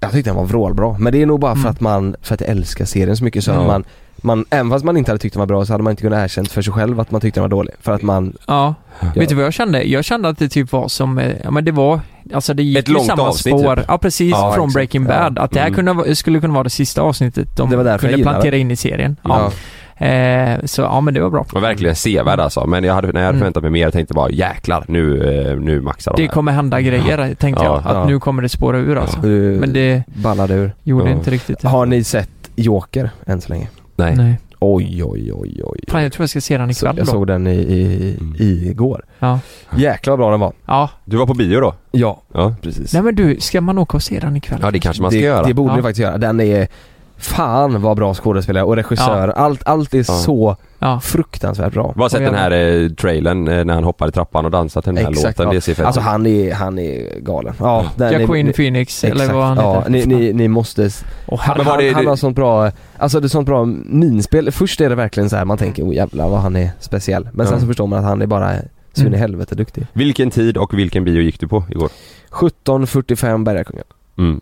jag tyckte den var vrålbra. Men det är nog bara för
Mm.
att man, för att jag älskar serien så mycket så
Ja.
att man, man, även fast man inte hade tyckt den var bra så hade man inte kunnat erkänt för sig själv att man tyckte den var dålig. För att man,
Ja.
Ja.
Vet du vad jag kände? Jag kände att det typ var som, eh, ja men det var, alltså det gick
Ett
ju
långt
samma
avsnitt,
spår.
typ.
Ja precis,
Ja,
från
exakt.
Breaking
Ja.
Bad. Att det här
Mm.
kunde, vara- skulle kunna vara det sista avsnittet de
Det var därför jag
kunde
gillade
plantera in i serien. Ja.
ja.
Eh, så ja men det var bra.
Var verkligen sevärd alltså, men jag hade, när jag hade
Mm.
förväntat mig mer jag tänkte bara jäklar, nu, eh, nu maxar de
Det
här.
kommer hända grejer tänkte
Ja,
jag. Att
ja.
nu kommer det spåra ur alltså.
Du
Men det
ballade ur.
gjorde
Ja.
inte riktigt det.
Har ni sett Joker än så länge?
Nej.
Nej.
Oj, oj, oj, oj.
Fan jag tror jag ska se den
Så,
ikväll
jag
då.
såg den i, i,
Mm.
i igår.
Ja.
Jäklar vad bra den var.
ja.
Du var på bio då?
Ja,
Ja.
precis.
Nej men du, ska man åka och se den ikväll?
Ja det kanske man ska
det,
göra.
det borde
Ja.
ni faktiskt göra. Den är, fan vad bra skådespelare och regissör. Allt, allt är
Ja.
så
Ja.
fruktansvärt bra.
Bara sett
Och jag-
den här eh, trailern eh, när han hoppar i trappan och dansar till den här
Exakt,
låten.
ja.
Det ser fett
Alltså han är, han är galen. Ja, den är-
Jacqueline
ni-
Phoenix
exakt.
eller vad han
ja,
heter.
ni, ni, ni måste... s-
Och
Han,
han,
Men var
han,
det-
han
det-
har sånt bra, alltså det är sånt bra minspel. Först är det verkligen så här man tänker oh jävlar vad han är speciell. Men sen
Ja.
så förstår man att han är bara så in i
Mm.
helvete duktig.
Vilken tid och vilken bio gick du på igår?
17.45 Bergakungen.
Mm.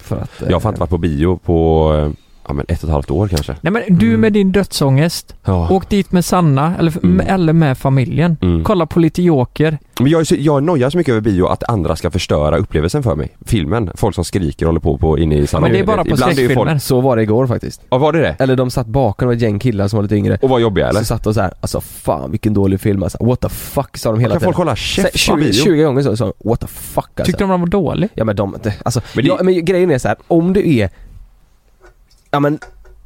För att... eh,
Jag har fan inte varit på bio på eh, ja, men ett och ett halvt år kanske.
Nej men du
Mm.
med din dödsångest.
Ja.
Åk dit med Sanna eller,
Ah. Mm.
eller med familjen.
Mm.
Kolla på lite Joker.
Men jag, är så, jag nojar så mycket över bio att andra ska förstöra upplevelsen för mig. Filmen. Folk som skriker och håller på, på inne i salongen.
Men det är bara på
Ibland ju folk-
skräckfilmer.
eh, Så var det igår faktiskt.
Ja var det det?
Eller de satt bakom, det var ett gäng killar som var lite yngre.
Och var jobbiga eller?
Så satt de så här, alltså fan vilken dålig film alltså. What the fuck sa de hela
Kan
tiden.
folk hålla
Så-
käft på
20,
bio?
20 gånger så sa de what the fuck alltså.
Tyckte de den var dålig?
Ja men de, det- alltså,
Men det-
ja, men grejen är så här, om du är, ja men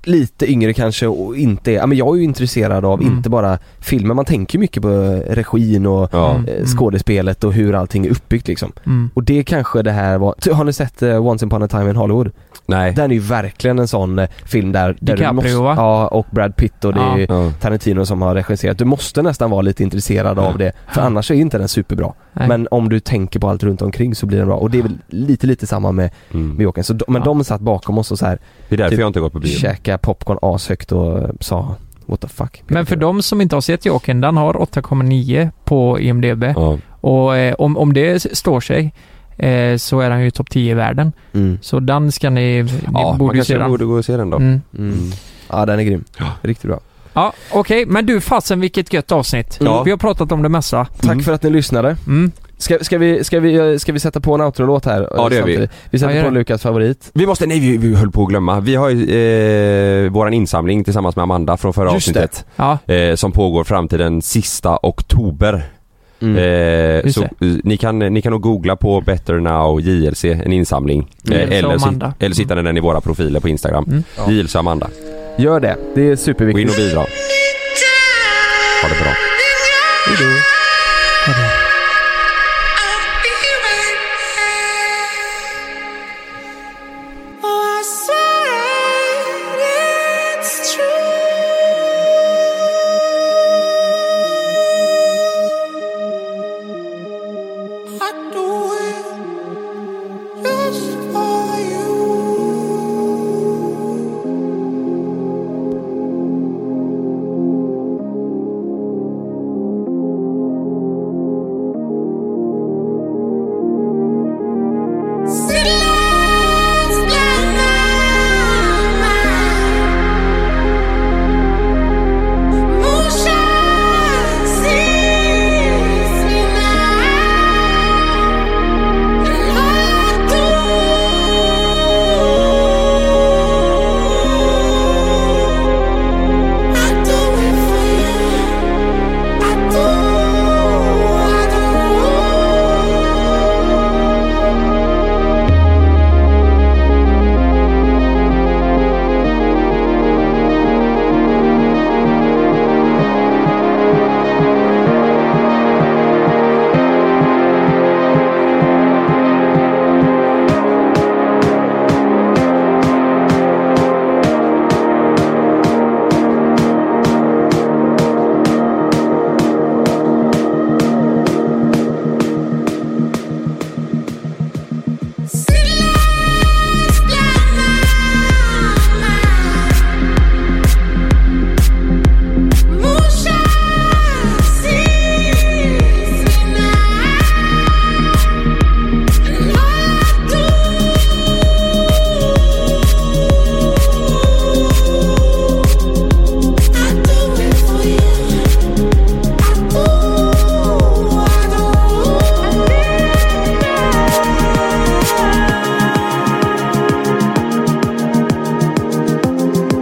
lite yngre kanske och inte är, ja men jag är ju intresserad av
Mm.
inte bara filmer, man tänker ju mycket på regin och
Ja.
Mm.
eh, skådespelet och hur allting är uppbyggt liksom.
Mm.
Och det kanske det här var, ty- har ni sett eh, Once upon a time in Hollywood?
Nej.
Den är ju verkligen en sån eh, film där, där
DiCaprio, va?
ja och Brad Pitt och det
Ja.
är ju
Ja.
Tarantino som har regisserat. Du måste nästan vara lite intresserad av det, för annars är inte den superbra.
Nej.
Men om du tänker på allt runt omkring så blir den bra. Och det är väl lite, lite samma med,
Mm.
med Jokern. Så de, men
Ja.
de satt bakom oss och så här
Det är därför
Typ-
jag inte har gått på bio.
käkade popcorn ashögt och eh, sa what the fuck.
Men för de som inte har sett Jokern, den har 8,9 på IMDB.
Ja.
Och eh, om, om det s- står sig, eh, eh, så är han ju topp 10 i världen.
Mm.
Så den ska ni, ni
Ja, man
borde ju
kanske
se den.
borde gå och se den då.
Mm.
Ja den är grym. Riktigt bra.
Ja, okej. Men du fasen vilket gött avsnitt.
Ja.
Vi har pratat om det mesta.
Tack för att ni lyssnade.
Mm.
Ska, ska, vi, ska, vi, ska vi sätta på en outro-låt här?
Ja, det gör vi.
Samtidigt? Vi sätter
Ja, gör
på
det.
Lukas favorit.
Vi måste, nej vi, vi höll på att glömma. Vi har ju eh, våran insamling tillsammans med Amanda från förra
Just det.
avsnittet.
Ja.
Eh, som pågår fram till den sista oktober.
Mm.
Eh,
Just
så, eh, ni, kan, ni kan nog googla på Better Now JLC, en insamling.
Mm.
Eh,
JLC
eller, så-
Amanda.
eller så hittar ni den i våra profiler på Instagram.
Mm. Ja.
JLC Amanda.
Gör det, det är superviktigt.
Gå in och bidra. Ha det bra.
Oh, I swear it's true. I do it just for you.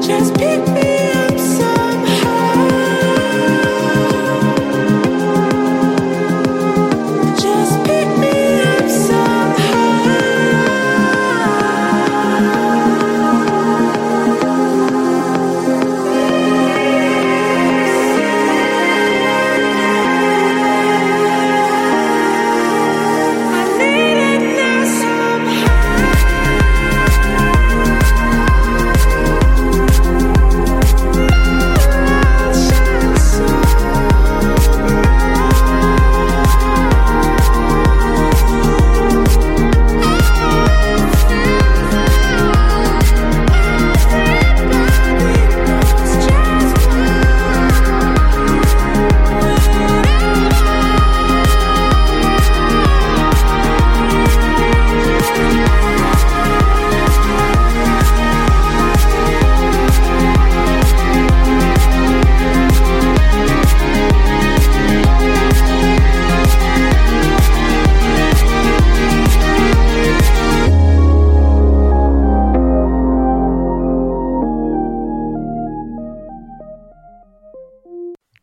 Just pick me up somehow. Just pick me up somehow. I need it now somehow.